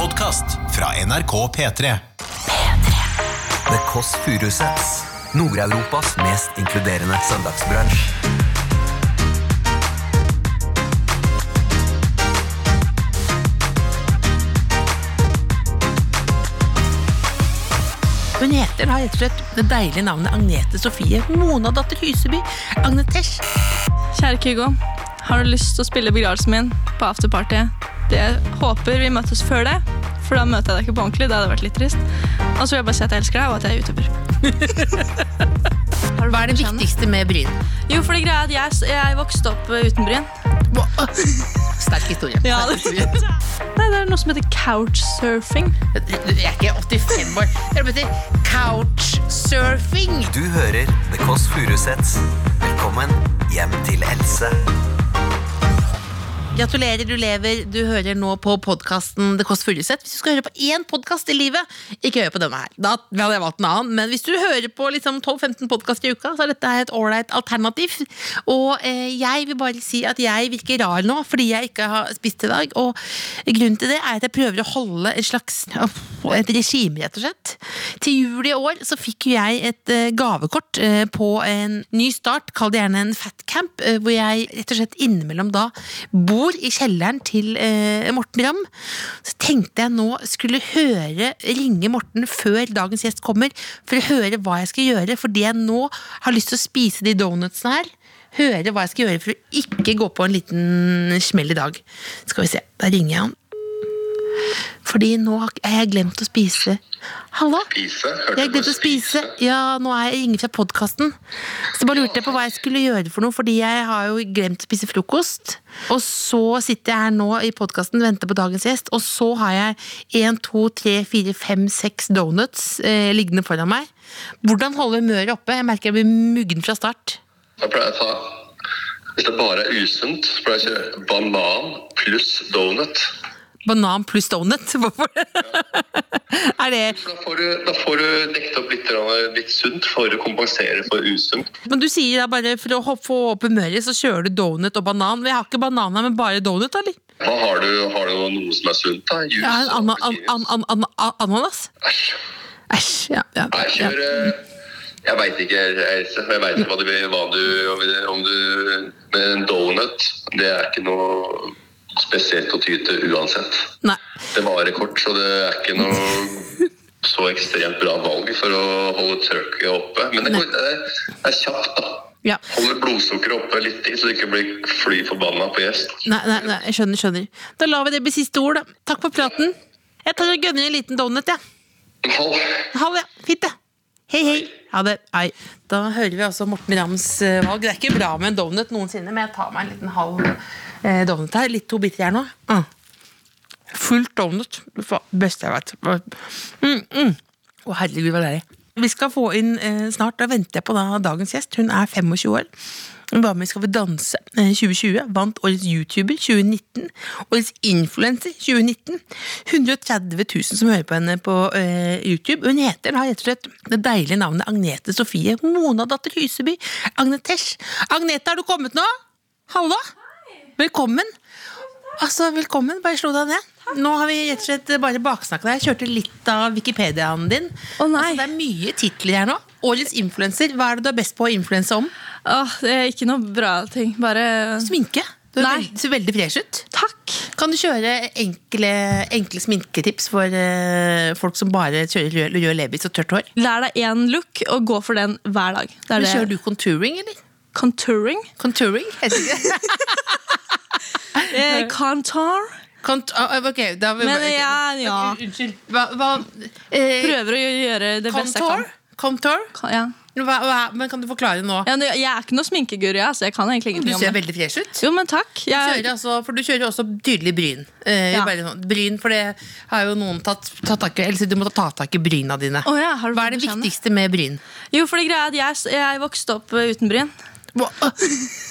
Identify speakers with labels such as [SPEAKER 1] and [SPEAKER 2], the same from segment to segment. [SPEAKER 1] Podkast fra NRK P3.
[SPEAKER 2] The Kåss Furuseths. Nord-Europas mest inkluderende søndagsbransj.
[SPEAKER 3] Hun heter da rett og slett det deilige navnet Agnete Sofie Monadatter Hyseby. Agnetesh.
[SPEAKER 4] Kjære Kygo, har du lyst til å spille begravelsen min på afterparty? Jeg håper vi møtes før det, for da møter jeg deg ikke på ordentlig. Det hadde vært litt trist. Og så vil jeg bare si at jeg elsker deg, og at jeg er youtuber. Har du
[SPEAKER 3] Hva er det
[SPEAKER 4] vært på Skjønn?
[SPEAKER 3] viktigste med Bryn?
[SPEAKER 4] Jo, for det greia er at jeg, jeg vokste opp eh, uten bryn.
[SPEAKER 3] Hva- Sterk historie.
[SPEAKER 4] Ja,
[SPEAKER 3] Sterk
[SPEAKER 4] det-
[SPEAKER 3] historie.
[SPEAKER 4] Nei, det er noe som heter couchsurfing.
[SPEAKER 3] Jeg er ikke 85 år. Jeg betyr couchsurfing.
[SPEAKER 2] Du hører The Kåss Furuseths. Velkommen hjem til Else.
[SPEAKER 3] Gratulerer, du lever. Du hører nå på podkasten Det Kåss Furuseth. Hvis du skal høre på én podkast i livet, ikke hør på denne her. Da hadde jeg valgt en annen. Men hvis du hører på liksom 12-15 podkaster i uka, så er dette her et ålreit alternativ. Og eh, jeg vil bare si at jeg virker rar nå fordi jeg ikke har spist i dag. Og grunnen til det er at jeg prøver å holde et slags et regime, rett og slett. Til jul i år så fikk jo jeg et eh, gavekort eh, på en ny start, kall det gjerne en fatcamp, eh, hvor jeg rett og slett innimellom da bor i kjelleren til eh, Morten Ramm. Så tenkte jeg nå skulle høre ringe Morten før dagens gjest kommer, for å høre hva jeg skal gjøre, fordi jeg nå har lyst til å spise de donutsene her. Høre hva jeg skal gjøre for å ikke gå på en liten smell i dag. Skal vi se, da ringer jeg han. Fordi nå har ikke- jeg har glemt å spise. Hallo?
[SPEAKER 5] Spise? Hørte
[SPEAKER 3] Jeg
[SPEAKER 5] du
[SPEAKER 3] glemte
[SPEAKER 5] på
[SPEAKER 3] å spise. Ja, nå er jeg ringer fra podkasten. Så bare lurte jeg på hva jeg skulle gjøre for noe, fordi jeg har jo glemt å spise frokost. Og så sitter jeg her nå i podkasten, venter på dagens gjest, og så har jeg én, to, tre, fire, fem, seks donuts eh, liggende foran meg. Hvordan holde humøret oppe? Jeg merker jeg blir muggen fra start.
[SPEAKER 5] Da pleier jeg å ta Hvis det bare er usunt, så pleier jeg å kjøre banan pluss donut.
[SPEAKER 3] Banan pluss donut. Hvorfor det? er det
[SPEAKER 5] Da får du, da får du dekket opp litt, grann- litt sunt for å kompensere for usunt.
[SPEAKER 3] Men du sier da bare for å ho- få opp humøret, så kjører du donut og banan. Men jeg har ikke banan her, men bare donut, eller?
[SPEAKER 5] Hva har du? Har du noe som er sunt, da?
[SPEAKER 3] Jeg
[SPEAKER 5] Juice?
[SPEAKER 3] har en ana- an,
[SPEAKER 5] appelsin?
[SPEAKER 3] an, an, an, an, ananas.
[SPEAKER 5] Æsj.
[SPEAKER 3] Æsj, ja. ja,
[SPEAKER 5] Nei,
[SPEAKER 3] ja.
[SPEAKER 5] kjør eh, Jeg veit ikke, Else. Jeg veit ikke hva du, vil- hva du om du- Om du Men en donut, det er ikke noe spesielt å ty til uansett.
[SPEAKER 3] Nei.
[SPEAKER 5] Det varer kort, så det er ikke noe så ekstremt bra valg for å holde trøkket oppe. Men det, går, det er kjapt, da.
[SPEAKER 3] Ja.
[SPEAKER 5] Holder blodsukkeret oppe litt til, så du ikke blir fly forbanna på gjest.
[SPEAKER 3] Nei, nei, nei, jeg skjønner, skjønner. Da lar vi det bli siste ord, da. Takk for praten. Jeg tar og gønner en liten donut, jeg. Ja.
[SPEAKER 5] Hold.
[SPEAKER 3] Ha det. Fint, det. Hei, hei. Ha det. Hei. Da hører vi altså Morten Rams eh, valg. Det er ikke bra med en donut noensinne, men jeg tar meg en liten halv eh, donut her. Litt to biter her nå. Mm. Fullt donut. Det fa- beste jeg vet. Mm, mm. Å, herregud, hva det er. Vi skal få inn eh, snart, da venter jeg på da, dagens gjest. Hun er 25 år. Hun var med i Skal vi danse eh, 2020, vant Årets YouTuber 2019, Årets Influencer 2019. 130 000 som hører på henne på eh, YouTube. Hun heter har rett og slett det deilige navnet Agnete Sofie Monadatter Hyseby. Agnetesh. Agnete, har du kommet nå? Hallo? Velkommen. Altså, velkommen. Bare slå deg ned. Nå har vi rett og slett bare baksnakka deg. Jeg kjørte litt av Wikipediaen din.
[SPEAKER 4] Å, nei.
[SPEAKER 3] Altså, det er mye titler her nå. Årets influenser. Hva er det du er best på å influense om?
[SPEAKER 4] Åh, det er ikke noe bra ting. Bare
[SPEAKER 3] Sminke. Du er
[SPEAKER 4] Nei.
[SPEAKER 3] veld- ser veldig fresh ut.
[SPEAKER 4] takk.
[SPEAKER 3] Kan du kjøre enkle, enkle sminketips for eh, folk som bare kjører rød, rød leppestift og tørt hår?
[SPEAKER 4] Lær deg én look, og gå for den hver dag. Det er
[SPEAKER 3] Men Kjører
[SPEAKER 4] det.
[SPEAKER 3] du contouring, eller?
[SPEAKER 4] Contouring.
[SPEAKER 3] Contouring? heter det ikke?
[SPEAKER 4] Eh, contour.
[SPEAKER 3] Cont ah, ok, da vil
[SPEAKER 4] Men jeg ja,
[SPEAKER 3] Unnskyld. Hva, hva eh,
[SPEAKER 4] prøver å gjøre det beste jeg
[SPEAKER 3] Contour?
[SPEAKER 4] kan.
[SPEAKER 3] Contour?
[SPEAKER 4] Ka- Ja.
[SPEAKER 3] Hva, hva, men kan du forklare nå?
[SPEAKER 4] Ja, men jeg er ikke noe sminkeguru, jeg, så jeg kan egentlig
[SPEAKER 3] Du
[SPEAKER 4] ingenting
[SPEAKER 3] ser
[SPEAKER 4] om det.
[SPEAKER 3] veldig fresh ut.
[SPEAKER 4] Jo, men takk. Jeg,
[SPEAKER 3] Kjører altså, for du kjører også tydelig bryn. Eh,
[SPEAKER 4] Ja.
[SPEAKER 3] bare sånn, bryn, for det har jo noen tatt, tatt tak i Else, du må ta tak i bryna dine.
[SPEAKER 4] Å ja, har du
[SPEAKER 3] Hva er det
[SPEAKER 4] fått beskjed om det?
[SPEAKER 3] viktigste med bryn?
[SPEAKER 4] Jo, for det greia er at jeg, s- jeg vokste opp eh, uten bryn.
[SPEAKER 3] Hva-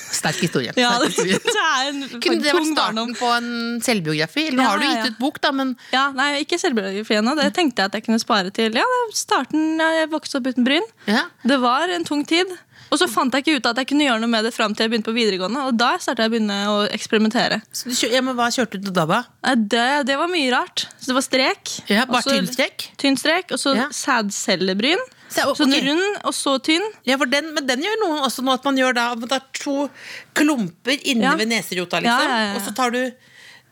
[SPEAKER 3] Sterk historie.
[SPEAKER 4] Ja,
[SPEAKER 3] Sterk
[SPEAKER 4] det,
[SPEAKER 3] historie.
[SPEAKER 4] er en
[SPEAKER 3] Kunne det vært
[SPEAKER 4] tung barndom.
[SPEAKER 3] starten på en selvbiografi? Eller nå
[SPEAKER 4] Ja,
[SPEAKER 3] har du
[SPEAKER 4] ja,
[SPEAKER 3] gitt
[SPEAKER 4] ja.
[SPEAKER 3] ut bok, da, men
[SPEAKER 4] Ja, nei, ikke selvbiografi ennå. Det tenkte jeg at jeg kunne spare til. Ja, det er starten ja, Jeg vokste opp uten bryn.
[SPEAKER 3] ja.
[SPEAKER 4] Det var en tung tid. Og så fant jeg ikke ut at jeg kunne gjøre noe med det fram til jeg begynte på videregående. Og da startet jeg å begynne å eksperimentere.
[SPEAKER 3] Så du kjø- ja, men Hva kjørte du da? da?
[SPEAKER 4] Nei, Det, det var mye rart. Så Så det var strek.
[SPEAKER 3] Ja, bare
[SPEAKER 4] og så-
[SPEAKER 3] tynnstrek?
[SPEAKER 4] Tynn strek, og så
[SPEAKER 3] Ja.
[SPEAKER 4] sædcellebryn.
[SPEAKER 3] Så-
[SPEAKER 4] Sånn
[SPEAKER 3] ok.
[SPEAKER 4] rund, og så tynn.
[SPEAKER 3] Ja, for den, men den gjør noen også nå at man gjør da at man tar to klumper inne
[SPEAKER 4] Ja.
[SPEAKER 3] ved neserota,
[SPEAKER 4] Ja,
[SPEAKER 3] liksom.
[SPEAKER 4] ja, ja, ja.
[SPEAKER 3] Og så tar du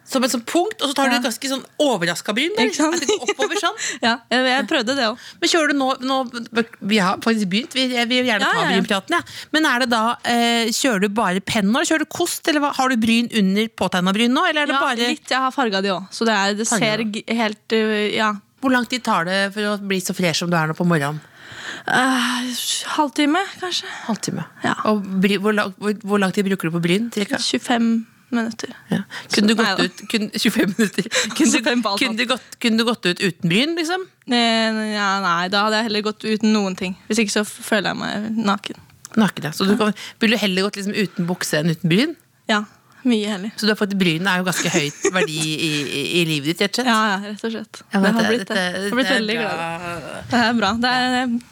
[SPEAKER 3] som et sånt punkt, og så tar du
[SPEAKER 4] Ja.
[SPEAKER 3] et ganske sånn overraska bryn. der,
[SPEAKER 4] Ikke sant?
[SPEAKER 3] At det går oppover sånn.
[SPEAKER 4] Ja, jeg, jeg prøvde det òg.
[SPEAKER 3] Men kjører du nå, nå Vi har faktisk begynt, vi, jeg vil gjerne
[SPEAKER 4] Ja,
[SPEAKER 3] ta
[SPEAKER 4] ja, ja.
[SPEAKER 3] brynpraten. Ja. Men er det da, eh, kjører du bare penn nå, eller kjører du kost? Eller hva? har du bryn under påtegna bryn nå? Eller er det
[SPEAKER 4] Ja,
[SPEAKER 3] bare
[SPEAKER 4] litt. Jeg har farga de òg, så det, er, det
[SPEAKER 3] Farga.
[SPEAKER 4] ser g- helt øh, Ja.
[SPEAKER 3] Hvor lang tid tar det for å bli så fresh som du er nå på morgenen?
[SPEAKER 4] Eh, halvtime, kanskje.
[SPEAKER 3] Halvtime.
[SPEAKER 4] Ja.
[SPEAKER 3] Og bry, hvor, lang, hvor, hvor lang tid bruker du på bryn? Cirka?
[SPEAKER 4] 25 minutter.
[SPEAKER 3] Ja. Kunne du
[SPEAKER 4] Så-
[SPEAKER 3] gått
[SPEAKER 4] nei da.
[SPEAKER 3] ut kun, 25 minutter kunne,
[SPEAKER 4] fem på
[SPEAKER 3] du-
[SPEAKER 4] alt
[SPEAKER 3] kunne, du gått, kunne du gått ut uten bryn, liksom?
[SPEAKER 4] Eh, ja, nei, da hadde jeg heller gått uten noen ting. Hvis ikke så f- føler jeg meg naken.
[SPEAKER 3] Naken, ja. Så du kan, ville du heller gått liksom uten bukse enn uten bryn?
[SPEAKER 4] Ja, Mye heller.
[SPEAKER 3] Så du har fått bryn er jo ganske høyt verdi i, i, i livet ditt, rett og slett.
[SPEAKER 4] Ja, ja, rett og slett.
[SPEAKER 3] Ja,
[SPEAKER 4] det
[SPEAKER 3] men
[SPEAKER 4] har
[SPEAKER 3] dette-
[SPEAKER 4] blitt det.
[SPEAKER 3] dette-
[SPEAKER 4] Jeg har
[SPEAKER 3] dette
[SPEAKER 4] blitt
[SPEAKER 3] er
[SPEAKER 4] veldig glad. i det.
[SPEAKER 3] bra.
[SPEAKER 4] Det er bra. Det er,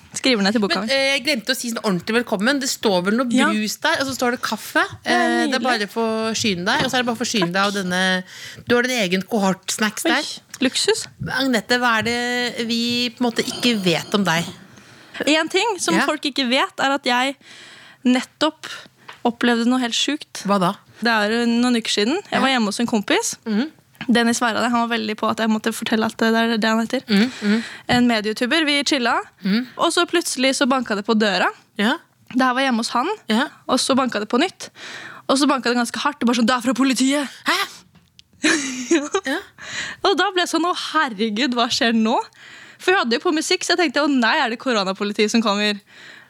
[SPEAKER 4] jeg skriver ned til boka
[SPEAKER 3] Men
[SPEAKER 4] mi.
[SPEAKER 3] eh, jeg glemte å si sånn ordentlig velkommen. Det står vel noe
[SPEAKER 4] Ja.
[SPEAKER 3] brus der, og så står det kaffe.
[SPEAKER 4] er
[SPEAKER 3] Eh, det er
[SPEAKER 4] nydelig.
[SPEAKER 3] bare for å forsyne deg. Og så er det bare å forsyne deg av denne Du har din egen kohort-snacks
[SPEAKER 4] Oi,
[SPEAKER 3] der.
[SPEAKER 4] Luksus.
[SPEAKER 3] Agnete, hva er det vi på en måte ikke vet om deg?
[SPEAKER 4] Én ting som
[SPEAKER 3] Ja.
[SPEAKER 4] folk ikke vet, er at jeg nettopp opplevde noe helt sjukt.
[SPEAKER 3] Hva da?
[SPEAKER 4] Det er jo noen uker siden. Jeg var hjemme hos en kompis. Dennis Værade han var veldig på at jeg måtte fortelle at det er det han heter. mm. En medietuber. Vi chilla. Og så plutselig så banka det på døra.
[SPEAKER 3] Ja?
[SPEAKER 4] Det her var hjemme hos han.
[SPEAKER 3] Ja.
[SPEAKER 4] Og så banka det på nytt. Og så banka det ganske hardt. Det bare sånn, det er fra politiet!
[SPEAKER 3] Hæ? ja.
[SPEAKER 4] Og da ble jeg sånn, å herregud, hva skjer nå? For vi hadde jo på musikk, så jeg tenkte, å nei, er det koronapolitiet som kommer?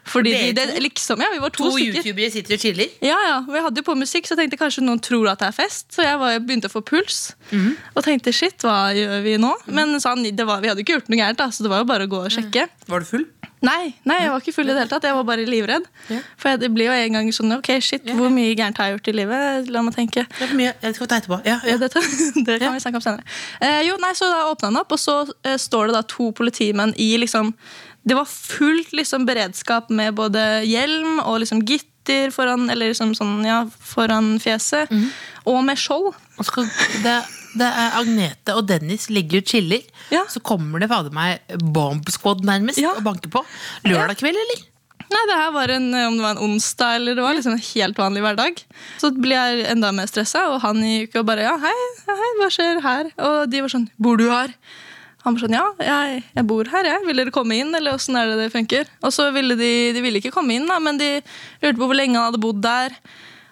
[SPEAKER 4] Fordi de,
[SPEAKER 3] Dere
[SPEAKER 4] det,
[SPEAKER 3] to?
[SPEAKER 4] liksom, ja, vi var to,
[SPEAKER 3] To
[SPEAKER 4] stykker.
[SPEAKER 3] youtubere sitter og chiller.
[SPEAKER 4] Ja, ja, og jeg hadde jo på musikk, så jeg tenkte kanskje noen tror at det er fest. Så jeg, var, jeg begynte å få puls, og tenkte, shit, hva gjør vi nå? Men sånn, det var, vi hadde jo ikke gjort noe gærent, da, så det var jo bare å gå og sjekke.
[SPEAKER 3] Var du full?
[SPEAKER 4] Nei, nei, jeg var ikke full i det hele tatt. Jeg var bare livredd.
[SPEAKER 3] Ja.
[SPEAKER 4] For jeg, det blir jo en gang sånn Ok, shit, hvor mye gærent har jeg gjort i livet? La meg tenke.
[SPEAKER 3] Det er for mye. Jeg skal ta etterpå. Ja, ja.
[SPEAKER 4] Det, det kan vi snakke om senere. Eh, jo, nei, så da åpna den opp, og så eh, står det da to politimenn i liksom Det var fullt liksom beredskap med både hjelm og liksom gitter foran, eller liksom sånn, ja, foran fjeset. Og med skjold.
[SPEAKER 3] Og så skal, det, det er Agnete og Dennis ligger og chiller.
[SPEAKER 4] Ja.
[SPEAKER 3] Så kommer det fader meg bomb squad nærmest
[SPEAKER 4] Ja.
[SPEAKER 3] og banker på. Lørdag kveld, eller?
[SPEAKER 4] Nei, det her var en, om det var en onsdag eller det var liksom en helt vanlig hverdag. Så blir jeg enda mer stressa, og han gikk og bare ja, hei, ja, hei, hva skjer her? Og de var sånn, bor du her? Han var sånn, ja, jeg, jeg bor her, jeg. Vil dere komme inn, eller åssen er det det funker? Og så ville de, de ville ikke komme inn, da, men de lurte på hvor lenge han hadde bodd der.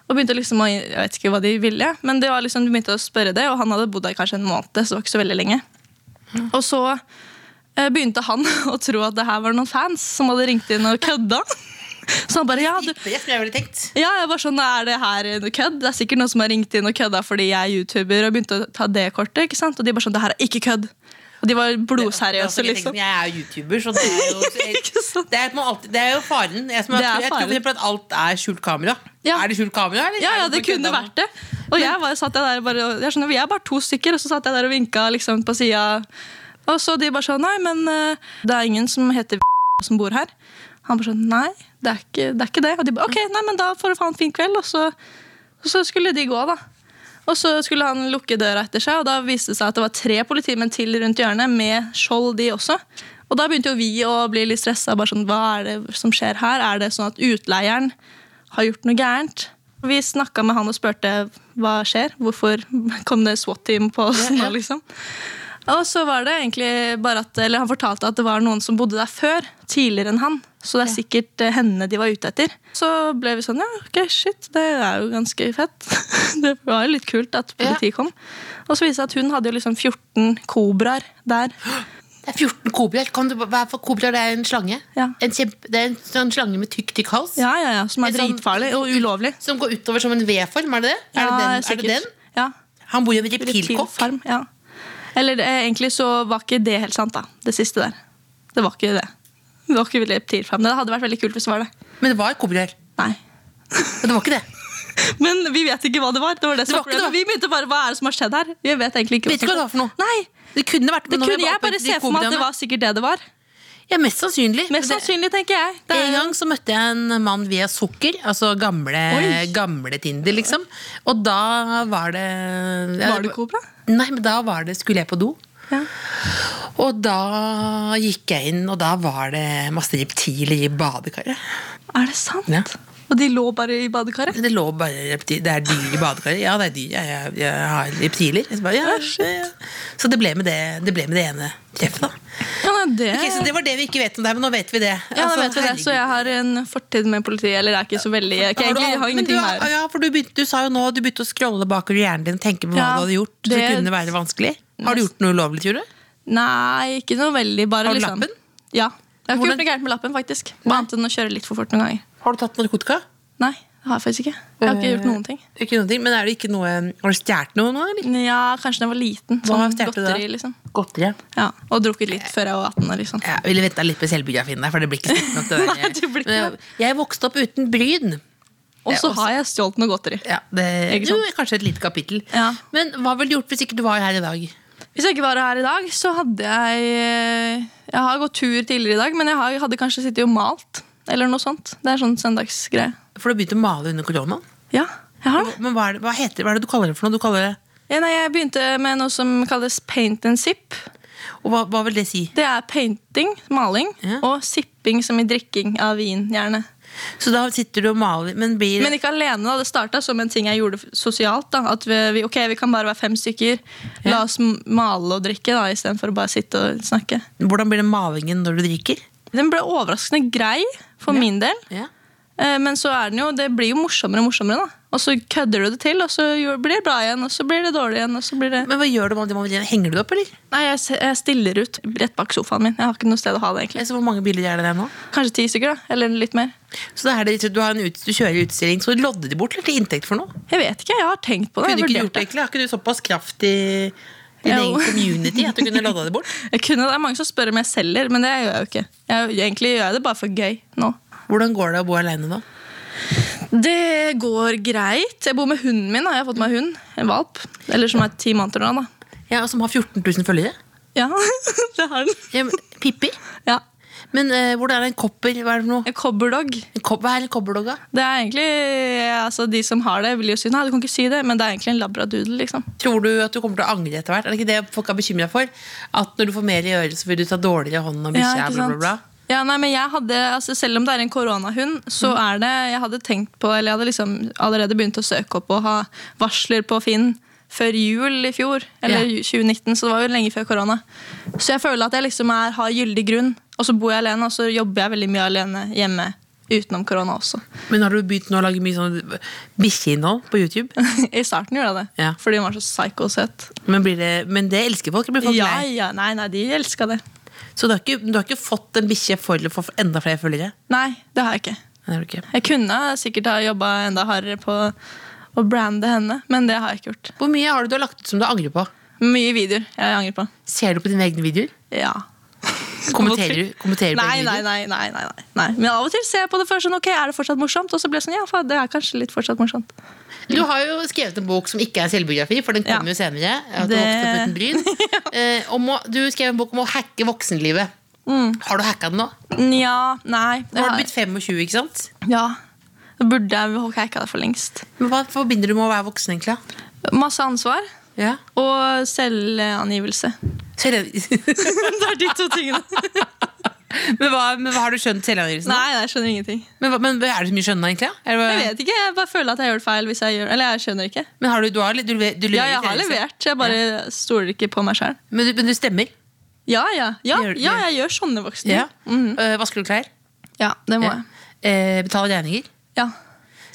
[SPEAKER 4] Og begynte liksom å, jeg vet ikke hva de ville, men det var liksom, de begynte å spørre det, og han hadde bodd der kanskje en måned, så det var ikke så veldig lenge. Og så eh, begynte han å tro at det her var noen fans som hadde ringt inn og kødda. Så han bare ja, du,
[SPEAKER 3] Det skulle jeg veldig tenkt.
[SPEAKER 4] ja, jeg var sånn, er det her noe kødd? Det er sikkert noen som har ringt inn og kødda fordi jeg er YouTuber og begynte å ta det kortet. ikke sant? Og de bare sånn, det her er ikke kødd. Og de var blodseriøse, liksom.
[SPEAKER 3] Jeg er jo YouTuber, så det er jo,
[SPEAKER 4] Ikke sant?
[SPEAKER 3] det er, på en måte alltid, det er jo faren. Jeg, som, jeg
[SPEAKER 4] Det er
[SPEAKER 3] tror for
[SPEAKER 4] faren.
[SPEAKER 3] eksempel at alt er skjult kamera.
[SPEAKER 4] Ja.
[SPEAKER 3] Er det skjult kamera? Eller?
[SPEAKER 4] Ja,
[SPEAKER 3] Er
[SPEAKER 4] ja, det
[SPEAKER 3] bare
[SPEAKER 4] kunne
[SPEAKER 3] kødda med-
[SPEAKER 4] vært det. Og jeg var, satt jeg der bare, og- jeg skjønner, vi er bare to stykker, og så satt jeg der og vinka liksom, på sida. Og så de bare sånn Nei, men eh, det er ingen som heter som bor her. Han bare sånn Nei, det er ikke det. Er ikke det. Og de bare OK, nei, men da får du faen fin kveld. Og så, og så skulle de gå, da. Og så skulle han lukke døra etter seg, og da viste det seg at det var tre politimenn til rundt hjørnet med skjold, de også. Og da begynte jo vi å bli litt stressa. Bare sånn, hva er det som skjer her? Er det sånn at utleieren har gjort noe gærent? Vi snakka med han og spurte hva skjer. Hvorfor kom det SWAT-team på oss nå, liksom? Og så var det egentlig bare at, eller Han fortalte at det var noen som bodde der før, tidligere enn han. Så det er sikkert eh, henne de var ute etter. Så ble vi sånn ja, ok, shit, det er jo ganske fett. det var jo litt kult at politiet kom. Og så viste det seg at hun hadde jo liksom 14 kobraer der.
[SPEAKER 3] Det er 14 kobraer. Kan du, hva er for kobraer? Det er en slange.
[SPEAKER 4] Ja.
[SPEAKER 3] En kjempe, det er en sånn slange med tykk, tykk hals.
[SPEAKER 4] Ja, ja, ja, Som er
[SPEAKER 3] En sånn-
[SPEAKER 4] dritfarlig og ulovlig.
[SPEAKER 3] Som går utover som en V-form, er det det? Er,
[SPEAKER 4] Ja,
[SPEAKER 3] det, den? er
[SPEAKER 4] sikkert.
[SPEAKER 3] det den?
[SPEAKER 4] Ja.
[SPEAKER 3] Han bor i en reptilkokk.
[SPEAKER 4] Reptilfarm. Ja. Eller eh, egentlig så var ikke det helt sant, da. Det siste der. Det var ikke det. Det var ikke reptilfarm. Det hadde vært veldig kult hvis det var det.
[SPEAKER 3] Men det var kobraer.
[SPEAKER 4] Nei.
[SPEAKER 3] Men det var ikke det.
[SPEAKER 4] Men vi vet ikke hva det var. Det var det som
[SPEAKER 3] var
[SPEAKER 4] var
[SPEAKER 3] ikke det.
[SPEAKER 4] problemet. Vi begynte bare, Hva er det som har skjedd her? Vi vet egentlig ikke
[SPEAKER 3] Vet ikke hva det var for noe.
[SPEAKER 4] Nei,
[SPEAKER 3] Det kunne vært
[SPEAKER 4] det
[SPEAKER 3] men nå har
[SPEAKER 4] kunne jeg
[SPEAKER 3] oppdaget
[SPEAKER 4] bare
[SPEAKER 3] de
[SPEAKER 4] se for meg at det
[SPEAKER 3] kobraene.
[SPEAKER 4] var sikkert det det var.
[SPEAKER 3] Ja, mest sannsynlig.
[SPEAKER 4] Mest
[SPEAKER 3] Men det-
[SPEAKER 4] sannsynlig, tenker jeg. Det
[SPEAKER 3] En
[SPEAKER 4] er,
[SPEAKER 3] gang så møtte jeg en mann via sukker, altså gamle,
[SPEAKER 4] Oi.
[SPEAKER 3] gamle Tinder, liksom. Og da var det ja,
[SPEAKER 4] var det kobra?
[SPEAKER 3] Nei, men da var det Skulle jeg på do? Og da gikk jeg inn, og da var det masse reptiler i badekaret.
[SPEAKER 4] Er det sant?
[SPEAKER 3] Ja.
[SPEAKER 4] Og de lå bare i badekaret?
[SPEAKER 3] Det lå bare reptil, det er dyr i badekaret. Ja, det er dyr. Jeg, jeg, jeg har reptiler. Så, bare, ja, ja, ja. så det, ble med det, det ble med det ene treffet, da.
[SPEAKER 4] Ja, nei, det...
[SPEAKER 3] Ok, så det var det vi ikke vet om deg, men nå vet vi det.
[SPEAKER 4] Ja,
[SPEAKER 3] Altså,
[SPEAKER 4] da vet vi det. Så
[SPEAKER 3] herregud.
[SPEAKER 4] jeg har en fortid med politiet. Eller det er ikke så veldig Jeg,
[SPEAKER 3] Har du
[SPEAKER 4] egentlig, jeg har
[SPEAKER 3] alt- men
[SPEAKER 4] ingenting
[SPEAKER 3] du, har-
[SPEAKER 4] med det.
[SPEAKER 3] Ja, for du, begynte, du sa jo nå at du begynte å scrolle bakover i hjernen din og tenke på hva
[SPEAKER 4] Ja,
[SPEAKER 3] du hadde gjort. Så det
[SPEAKER 4] det-
[SPEAKER 3] kunne være vanskelig. Har du gjort noe ulovlig, tror du?
[SPEAKER 4] Nei, ikke noe veldig. Bare,
[SPEAKER 3] Har du
[SPEAKER 4] liksom.
[SPEAKER 3] lappen?
[SPEAKER 4] Ja. Jeg har ikke
[SPEAKER 3] Hvordan-
[SPEAKER 4] gjort noe gærent med lappen, faktisk. Bare annet enn å kjøre litt for fort noen ganger.
[SPEAKER 3] Har du tatt narkotika?
[SPEAKER 4] Nei, det har jeg faktisk ikke. Jeg har ikke
[SPEAKER 3] Eh.
[SPEAKER 4] gjort noen ting.
[SPEAKER 3] Ikke noe ting, men er det ikke noe Har du stjålet noe nå, eller?
[SPEAKER 4] Ja, kanskje da jeg var liten.
[SPEAKER 3] Hva
[SPEAKER 4] Sånn
[SPEAKER 3] stjal du da?
[SPEAKER 4] godteri, liksom.
[SPEAKER 3] Godteri.
[SPEAKER 4] Ja, Og drukket litt før jeg var 18 år. liksom.
[SPEAKER 3] Jeg ville venta litt med selvbiografien der, for det blir ikke stort nok. Det der.
[SPEAKER 4] Nei, det blir ikke
[SPEAKER 3] Men Jeg vokste opp uten bryn.
[SPEAKER 4] Og så
[SPEAKER 3] også-
[SPEAKER 4] har jeg stjålet noe godteri.
[SPEAKER 3] Ja, det,
[SPEAKER 4] Ikke
[SPEAKER 3] jo,
[SPEAKER 4] sant?
[SPEAKER 3] kanskje et lite kapittel.
[SPEAKER 4] Ja.
[SPEAKER 3] Men hva ville du gjort hvis ikke du var her i dag?
[SPEAKER 4] Hvis jeg ikke var her i dag, så hadde jeg eh, Jeg har gått tur tidligere i dag, men jeg har- hadde kanskje sittet og malt. Eller noe sånt. Det er sånn søndagsgreie.
[SPEAKER 3] For du begynte å male under koronaen.
[SPEAKER 4] Ja, jeg har det.
[SPEAKER 3] Men hva er det, hva, heter, det- hva er det du kaller det for noe? Du kaller det,
[SPEAKER 4] Ja, nei, jeg begynte med noe som kalles paint and sip.
[SPEAKER 3] og hva, hva vil det si?
[SPEAKER 4] Det er painting, maling,
[SPEAKER 3] Ja.
[SPEAKER 4] og sipping som i drikking av vin. gjerne.
[SPEAKER 3] Så da sitter du og maler, men blir
[SPEAKER 4] Men ikke alene. da, Det starta som en ting jeg gjorde f- sosialt. da, At vi, vi- ok, vi kan bare være fem stykker. La oss m- male og drikke da, istedenfor bare sitte og snakke.
[SPEAKER 3] Hvordan blir det malingen når du drikker?
[SPEAKER 4] Den ble overraskende grei for min del.
[SPEAKER 3] Ja.
[SPEAKER 4] Eh, Men så er den jo, det blir jo morsommere og morsommere. da. Og så kødder du det til, og så gjør- blir det bra igjen, og så blir det dårlig igjen. og så blir det...
[SPEAKER 3] Men hva gjør du med det? Henger du det opp, eller?
[SPEAKER 4] Nei, jeg, s- jeg stiller ut rett bak sofaen min. Jeg har ikke noe sted å ha det. egentlig.
[SPEAKER 3] Altså, hvor mange bilder er det der nå?
[SPEAKER 4] Kanskje ti stykker, da. Eller litt mer.
[SPEAKER 3] Så da er det, du, har en ut, du kjører utstilling, så lodder de bort eller til inntekt for noe?
[SPEAKER 4] Jeg vet ikke, jeg har tenkt på det.
[SPEAKER 3] Kunne du
[SPEAKER 4] jeg
[SPEAKER 3] ikke
[SPEAKER 4] vurderte
[SPEAKER 3] gjort det, egentlig? Har ikke du såpass kraft i i din
[SPEAKER 4] Jo.
[SPEAKER 3] egen community at du kunne lodda det bort?
[SPEAKER 4] Jeg kunne, det er mange som spør om jeg selger, men det gjør jeg jo ikke. Jeg, egentlig gjør jeg det bare for gøy nå.
[SPEAKER 3] Hvordan går det å bo aleine nå?
[SPEAKER 4] Det går greit. Jeg bor med hunden min. Da. Jeg har fått meg hund. En valp. Eller som er ti måneder nå, da.
[SPEAKER 3] Ja, og Som har 14 000 følgere?
[SPEAKER 4] Ja, det har den.
[SPEAKER 3] Ja, men- Pippi?
[SPEAKER 4] Ja.
[SPEAKER 3] Men eh, hvordan er det en kopper? Hva er det for noe?
[SPEAKER 4] En cobberdog.
[SPEAKER 3] En kob- Hva er en kobberdog, da?
[SPEAKER 4] Det er egentlig, altså De som har det, vil jo si nei, du kan ikke si det, men det er egentlig en labradoodle. liksom.
[SPEAKER 3] Tror du at du kommer til å angre etter hvert? Er det ikke det folk er bekymra for? At når du får mer i øret, så vil du ta dårligere hånd om bikkja?
[SPEAKER 4] ikke
[SPEAKER 3] bla,
[SPEAKER 4] sant?
[SPEAKER 3] bla, bla.
[SPEAKER 4] Ja, nei, men jeg hadde, altså Selv om det er en koronahund, så
[SPEAKER 3] Mhm.
[SPEAKER 4] er det Jeg hadde tenkt på, eller jeg hadde liksom allerede begynt å søke opp og ha varsler på Finn før jul i fjor. Eller
[SPEAKER 3] Ja.
[SPEAKER 4] 2019, så det var jo lenge før korona. Så jeg føler at jeg liksom er, har gyldig grunn. Og så bor jeg alene, og så jobber jeg veldig mye alene hjemme utenom korona også.
[SPEAKER 3] Men har du begynt nå å lage mye sånn bikkjeinnhold på YouTube?
[SPEAKER 4] I starten gjorde jeg det,
[SPEAKER 3] Ja.
[SPEAKER 4] fordi hun var så psyko-søt.
[SPEAKER 3] Men, blir det, men det elsker folk. Det blir folk
[SPEAKER 4] Ja,
[SPEAKER 3] lei.
[SPEAKER 4] ja, nei, nei, de elska det.
[SPEAKER 3] Så du har ikke, du har ikke fått en bikkje for å få enda flere følgere?
[SPEAKER 4] Nei, det har jeg ikke.
[SPEAKER 3] Nei, det har du ikke.
[SPEAKER 4] Jeg kunne sikkert ha jobba enda hardere på å brande henne, men det har jeg ikke gjort.
[SPEAKER 3] Hvor mye har du, du har lagt ut som du angrer på?
[SPEAKER 4] Mye videoer jeg angrer på.
[SPEAKER 3] Ser du på dine egne videoer?
[SPEAKER 4] Ja.
[SPEAKER 3] Kommenterer du, kommenterer du på
[SPEAKER 4] Nei,
[SPEAKER 3] egne
[SPEAKER 4] nei,
[SPEAKER 3] videoer?
[SPEAKER 4] nei, nei, nei, nei, nei. Men av og til ser jeg på det først sånn, ok, er det fortsatt morsomt? Og så blir jeg sånn, ja, faen, det er kanskje litt fortsatt morsomt.
[SPEAKER 3] Du har jo skrevet en bok som ikke er selvbiografi, for den
[SPEAKER 4] Ja.
[SPEAKER 3] kommer jo senere. At Du,
[SPEAKER 4] Det-
[SPEAKER 3] vokste opp uten bryn. eh, om å, du skrev en bok om å hacke voksenlivet. Har du hacka den nå?
[SPEAKER 4] Nja, nei.
[SPEAKER 3] Nå har du
[SPEAKER 4] Mm. Jeg,
[SPEAKER 3] blitt 25, ikke sant?
[SPEAKER 4] ja. Da burde jeg ha hacka det for lengst.
[SPEAKER 3] Men Hva forbinder du med å være voksen, egentlig? da?
[SPEAKER 4] Masse ansvar
[SPEAKER 3] Ja.
[SPEAKER 4] og selvangivelse.
[SPEAKER 3] Selv...
[SPEAKER 4] det er de to tingene.
[SPEAKER 3] men, hva, men hva har du skjønt selvangivelsen?
[SPEAKER 4] nei, jeg skjønner ingenting.
[SPEAKER 3] Men, hva- men er det så mye skjønna, egentlig? da? Er det
[SPEAKER 4] Jeg
[SPEAKER 3] bare...
[SPEAKER 4] vet ikke, jeg bare føler at jeg gjør det feil hvis jeg gjør Eller jeg skjønner ikke.
[SPEAKER 3] Men har du, du, har, du, du, du
[SPEAKER 4] Ja,
[SPEAKER 3] leverer
[SPEAKER 4] jeg har
[SPEAKER 3] ikke, altså.
[SPEAKER 4] levert, jeg bare stoler ikke på meg selv.
[SPEAKER 3] Men du, men du stemmer?
[SPEAKER 4] Ja, ja, ja,
[SPEAKER 3] Gjør-
[SPEAKER 4] ja, jeg gjør sånne voksne.
[SPEAKER 3] Ja.
[SPEAKER 4] ting. Mhm.
[SPEAKER 3] Eh, vasker du klær?
[SPEAKER 4] Ja, det må jeg.
[SPEAKER 3] Eh, betaler regninger?
[SPEAKER 4] Ja.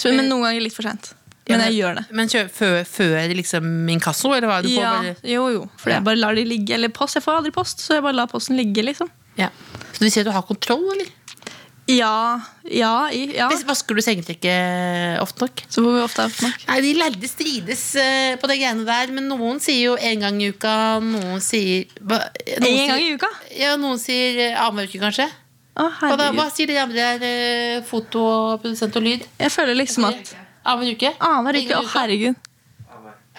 [SPEAKER 4] Så, men noen ganger litt for sent. Men jeg gjør det.
[SPEAKER 3] Men kjø, før, før liksom inkasso, eller hva er det du får?
[SPEAKER 4] Ja,
[SPEAKER 3] bare-
[SPEAKER 4] jo, jo. For
[SPEAKER 3] Ja.
[SPEAKER 4] jeg bare lar de ligge. Eller post. Jeg får aldri post, så jeg bare lar posten ligge, liksom.
[SPEAKER 3] Ja. Så du sier at du har kontroll, eller?
[SPEAKER 4] Ja, ja, i, ja.
[SPEAKER 3] Hvis- Vasker du sengetrekket eh, ofte nok?
[SPEAKER 4] Så hvor ofte er det nok?
[SPEAKER 3] Nei, De lærde strides eh, på de greiene der, men noen sier jo én gang i uka, noen sier hva- noen
[SPEAKER 4] En gang
[SPEAKER 3] sier-
[SPEAKER 4] i uka?
[SPEAKER 3] Ja, noen sier eh, annenhver uke, kanskje.
[SPEAKER 4] Å,
[SPEAKER 3] Hva, da,
[SPEAKER 4] herregud.
[SPEAKER 3] hva sier de andre der? eh, Foto, og produsent og lyd?
[SPEAKER 4] Jeg føler liksom at
[SPEAKER 3] Annenhver uke?
[SPEAKER 4] Annenhver
[SPEAKER 3] En
[SPEAKER 4] uke. Å,
[SPEAKER 3] gang i uka?
[SPEAKER 4] herregud.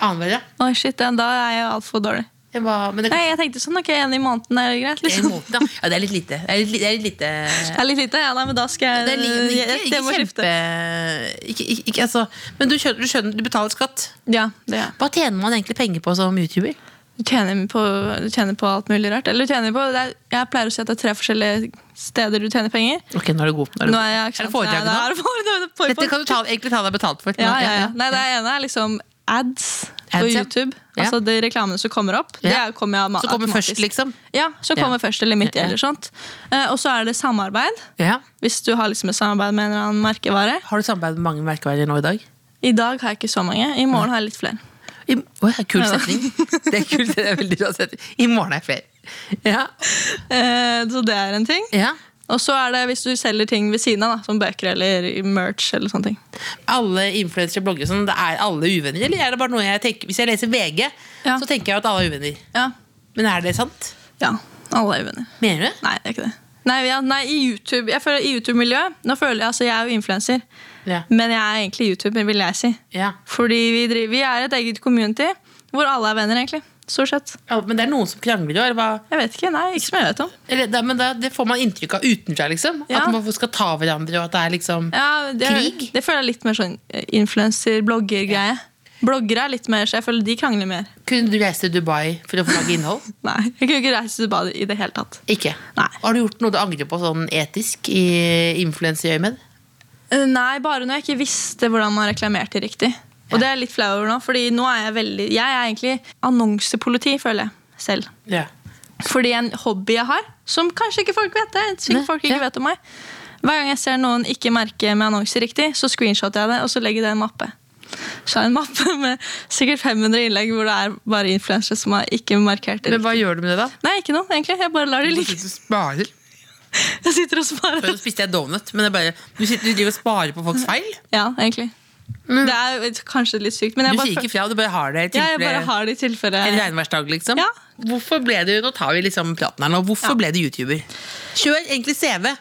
[SPEAKER 3] Annenhver, ja.
[SPEAKER 4] Oi, shit, ja, Da er jeg altfor dårlig.
[SPEAKER 3] Ja, hva- Men det
[SPEAKER 4] Nei, jeg tenkte sånn, ok, en i måneden er greit,
[SPEAKER 3] en
[SPEAKER 4] liksom.
[SPEAKER 3] måned, da. Ja, det er litt lite. Det er litt, det er litt lite
[SPEAKER 4] Det er litt lite, ja, nei, men da skal
[SPEAKER 3] det er
[SPEAKER 4] jeg
[SPEAKER 3] li-
[SPEAKER 4] jeg-
[SPEAKER 3] ikke,
[SPEAKER 4] jeg-
[SPEAKER 3] ikke
[SPEAKER 4] Jeg må skifte.
[SPEAKER 3] kjempe ikke, ikke, ikke, altså. Men du skjønner, du skjønner, du betaler skatt.
[SPEAKER 4] Ja, det er
[SPEAKER 3] Hva tjener man egentlig penger på som YouTuber?
[SPEAKER 4] Du tjener på, du tjener på alt mulig rart. Eller du tjener på, det er, jeg pleier å si at det er tre forskjellige steder du tjener penger.
[SPEAKER 3] Ok, nå er du god. Nå er du
[SPEAKER 4] Nå
[SPEAKER 3] god.
[SPEAKER 4] er, jeg,
[SPEAKER 3] Er
[SPEAKER 4] ikke
[SPEAKER 3] det
[SPEAKER 4] sant?
[SPEAKER 3] foredrag nå?
[SPEAKER 4] Nei, det er foredrag- foredrag.
[SPEAKER 3] Dette kan du ta, egentlig ta deg betalt for.
[SPEAKER 4] Ja, ja, ja. Nei, det ene er liksom ads, på
[SPEAKER 3] Ads, ja.
[SPEAKER 4] YouTube.
[SPEAKER 3] Ja.
[SPEAKER 4] Altså de reklamene som kommer opp. Det
[SPEAKER 3] Ja.
[SPEAKER 4] er- kommer jeg ma-
[SPEAKER 3] Så kommer
[SPEAKER 4] automatisk.
[SPEAKER 3] først, liksom.
[SPEAKER 4] Ja, så kommer først eller midt i
[SPEAKER 3] Ja.
[SPEAKER 4] eller sånt. Eh, Og så er det samarbeid.
[SPEAKER 3] Ja.
[SPEAKER 4] Hvis du har liksom et samarbeid med en eller annen merkevare.
[SPEAKER 3] Har du samarbeid med mange merkeverdier nå i dag?
[SPEAKER 4] I dag har jeg ikke så mange. I morgen har jeg litt flere.
[SPEAKER 3] I, Oi, kul
[SPEAKER 4] Ja.
[SPEAKER 3] setning. Det er kult, det er veldig bra setning. I morgen er jeg flere. Ja.
[SPEAKER 4] Eh, Så det er en ting.
[SPEAKER 3] ja.
[SPEAKER 4] Og så er det hvis du selger ting ved siden av, da, som bøker eller merch. eller sånne ting.
[SPEAKER 3] Alle influensere og bloggere sånn, det er alle uvenner, eller er det bare noe jeg tenker Hvis jeg leser VG,
[SPEAKER 4] Ja.
[SPEAKER 3] så tenker jeg jo at alle er uvenner.
[SPEAKER 4] Ja.
[SPEAKER 3] Men er det sant?
[SPEAKER 4] ja. Alle er uvenner.
[SPEAKER 3] Mener du det?
[SPEAKER 4] Nei, det er ikke det. Nei, ja, nei i YouTube, jeg føler i YouTube-miljøet Nå føler jeg, altså jeg er jo influenser,
[SPEAKER 3] Ja.
[SPEAKER 4] men jeg er egentlig YouTuber, vil jeg si.
[SPEAKER 3] Ja.
[SPEAKER 4] Fordi vi, driver, vi er et eget community hvor alle er venner, egentlig. Stort sett.
[SPEAKER 3] Ja, Men det er noen som krangler, jo. Eller hva?
[SPEAKER 4] Jeg vet ikke, nei, ikke som jeg vet om.
[SPEAKER 3] Eller, det, men det, det får man inntrykk av utenfra. liksom
[SPEAKER 4] Ja.
[SPEAKER 3] At man skal ta hverandre, og at det er liksom
[SPEAKER 4] Ja, det,
[SPEAKER 3] Krig?
[SPEAKER 4] Det føler jeg er litt mer sånn influenser-blogger-greie. Bloggere er litt mer, så jeg føler de krangler mer.
[SPEAKER 3] Kunne du reist til Dubai for å få lage innhold?
[SPEAKER 4] Nei, jeg kunne ikke reise til badet i det hele tatt.
[SPEAKER 3] Ikke?
[SPEAKER 4] Nei.
[SPEAKER 3] Har du gjort noe du angrer på sånn etisk i influenserøyemed?
[SPEAKER 4] Eh, Nei, bare når jeg ikke visste hvordan man reklamerte riktig. Og det er jeg litt flau over nå, fordi nå er jeg veldig Jeg er egentlig annonsepoliti, føler jeg selv.
[SPEAKER 3] Ja.
[SPEAKER 4] Fordi en hobby jeg har, som kanskje ikke folk vet det.
[SPEAKER 3] Nei,
[SPEAKER 4] Sikkert folk ikke
[SPEAKER 3] ja.
[SPEAKER 4] vet om meg. Hver gang jeg ser noen ikke merke med annonser riktig, så screenshotter jeg det, og så legger jeg det i en mappe. Så er det en mappe med sikkert 500 innlegg hvor det er bare influensere som har ikke markert det.
[SPEAKER 3] Men
[SPEAKER 4] riktig.
[SPEAKER 3] hva gjør du med det, da?
[SPEAKER 4] Nei, ikke noe, egentlig. Jeg bare lar det ligge.
[SPEAKER 3] Du sparer.
[SPEAKER 4] Jeg sitter og
[SPEAKER 3] Nå
[SPEAKER 4] sparer.
[SPEAKER 3] spiste jeg donut, men det er bare, du, sitter, du driver og sparer på folks feil.
[SPEAKER 4] Ja, egentlig. Det er jo kanskje litt sykt, men
[SPEAKER 3] Du
[SPEAKER 4] jeg
[SPEAKER 3] sier
[SPEAKER 4] bare,
[SPEAKER 3] ikke fra, du bare har det. i
[SPEAKER 4] ja, jeg
[SPEAKER 3] tilfelle-
[SPEAKER 4] bare har det i tilfelle
[SPEAKER 3] En regnværsdag, liksom.
[SPEAKER 4] Ja.
[SPEAKER 3] Hvorfor ble du, nå tar vi liksom praten her nå, hvorfor
[SPEAKER 4] Ja.
[SPEAKER 3] ble du YouTuber? Kjør egentlig CV.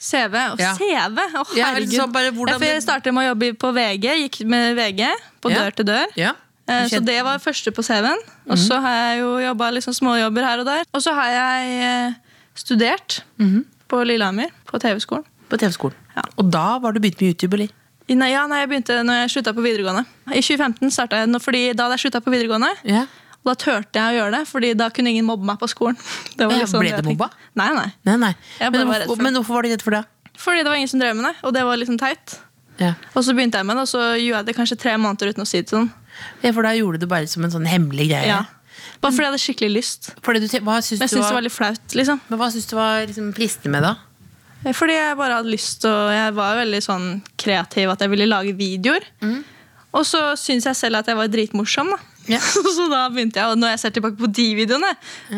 [SPEAKER 4] CV. Og
[SPEAKER 3] Ja.
[SPEAKER 4] CV! Å, herregud.
[SPEAKER 3] Ja, eller sånn bare hvordan
[SPEAKER 4] Ja, for jeg
[SPEAKER 3] det-
[SPEAKER 4] startet med å jobbe på VG, gikk med VG på
[SPEAKER 3] Ja.
[SPEAKER 4] dør til dør.
[SPEAKER 3] Ja.
[SPEAKER 4] Eh, Så
[SPEAKER 3] Kjent- Mhm.
[SPEAKER 4] det var første på CV-en. Og så har jeg jo jobba liksom småjobber her og der. Og så har jeg eh, studert
[SPEAKER 3] Mhm.
[SPEAKER 4] på Lillehammer, på TV-skolen.
[SPEAKER 3] På TV-skolen.
[SPEAKER 4] Ja.
[SPEAKER 3] Og da var du begynt med YouTube, eller?
[SPEAKER 4] I- Nei, ja, nei, jeg begynte når jeg slutta på videregående. I 2015 starta jeg, nå, fordi da hadde jeg slutta på videregående.
[SPEAKER 3] Ja.
[SPEAKER 4] Og da turte jeg å gjøre det, Fordi da kunne ingen mobbe meg på skolen. Det var
[SPEAKER 3] Ja,
[SPEAKER 4] liksom
[SPEAKER 3] ble
[SPEAKER 4] det jeg
[SPEAKER 3] du
[SPEAKER 4] tenkte.
[SPEAKER 3] mobba?
[SPEAKER 4] Nei, nei.
[SPEAKER 3] Nei, nei.
[SPEAKER 4] Jeg
[SPEAKER 3] Men
[SPEAKER 4] bare var redd
[SPEAKER 3] hvorfor,
[SPEAKER 4] for det.
[SPEAKER 3] men hvorfor var du redd for det?
[SPEAKER 4] Fordi det var ingen som drev med det, og det var liksom teit.
[SPEAKER 3] Ja.
[SPEAKER 4] Og så begynte jeg med det, og så gjorde jeg det kanskje tre måneder uten å si det til noen.
[SPEAKER 3] ja, for da gjorde du det bare som en sånn hemmelig greie.
[SPEAKER 4] Ja. Bare fordi jeg hadde skikkelig lyst.
[SPEAKER 3] Fordi du, te- hva syns
[SPEAKER 4] Men jeg
[SPEAKER 3] du
[SPEAKER 4] syntes det
[SPEAKER 3] var,
[SPEAKER 4] var litt flaut. liksom.
[SPEAKER 3] men hva syns du var liksom, fristende med det?
[SPEAKER 4] Fordi jeg bare hadde lyst, og jeg var jo veldig sånn kreativ at jeg ville lage videoer. Og så syns jeg selv at jeg var dritmorsom, da.
[SPEAKER 3] Mm. Ja.
[SPEAKER 4] så da begynte jeg, og når jeg ser tilbake på de videoene,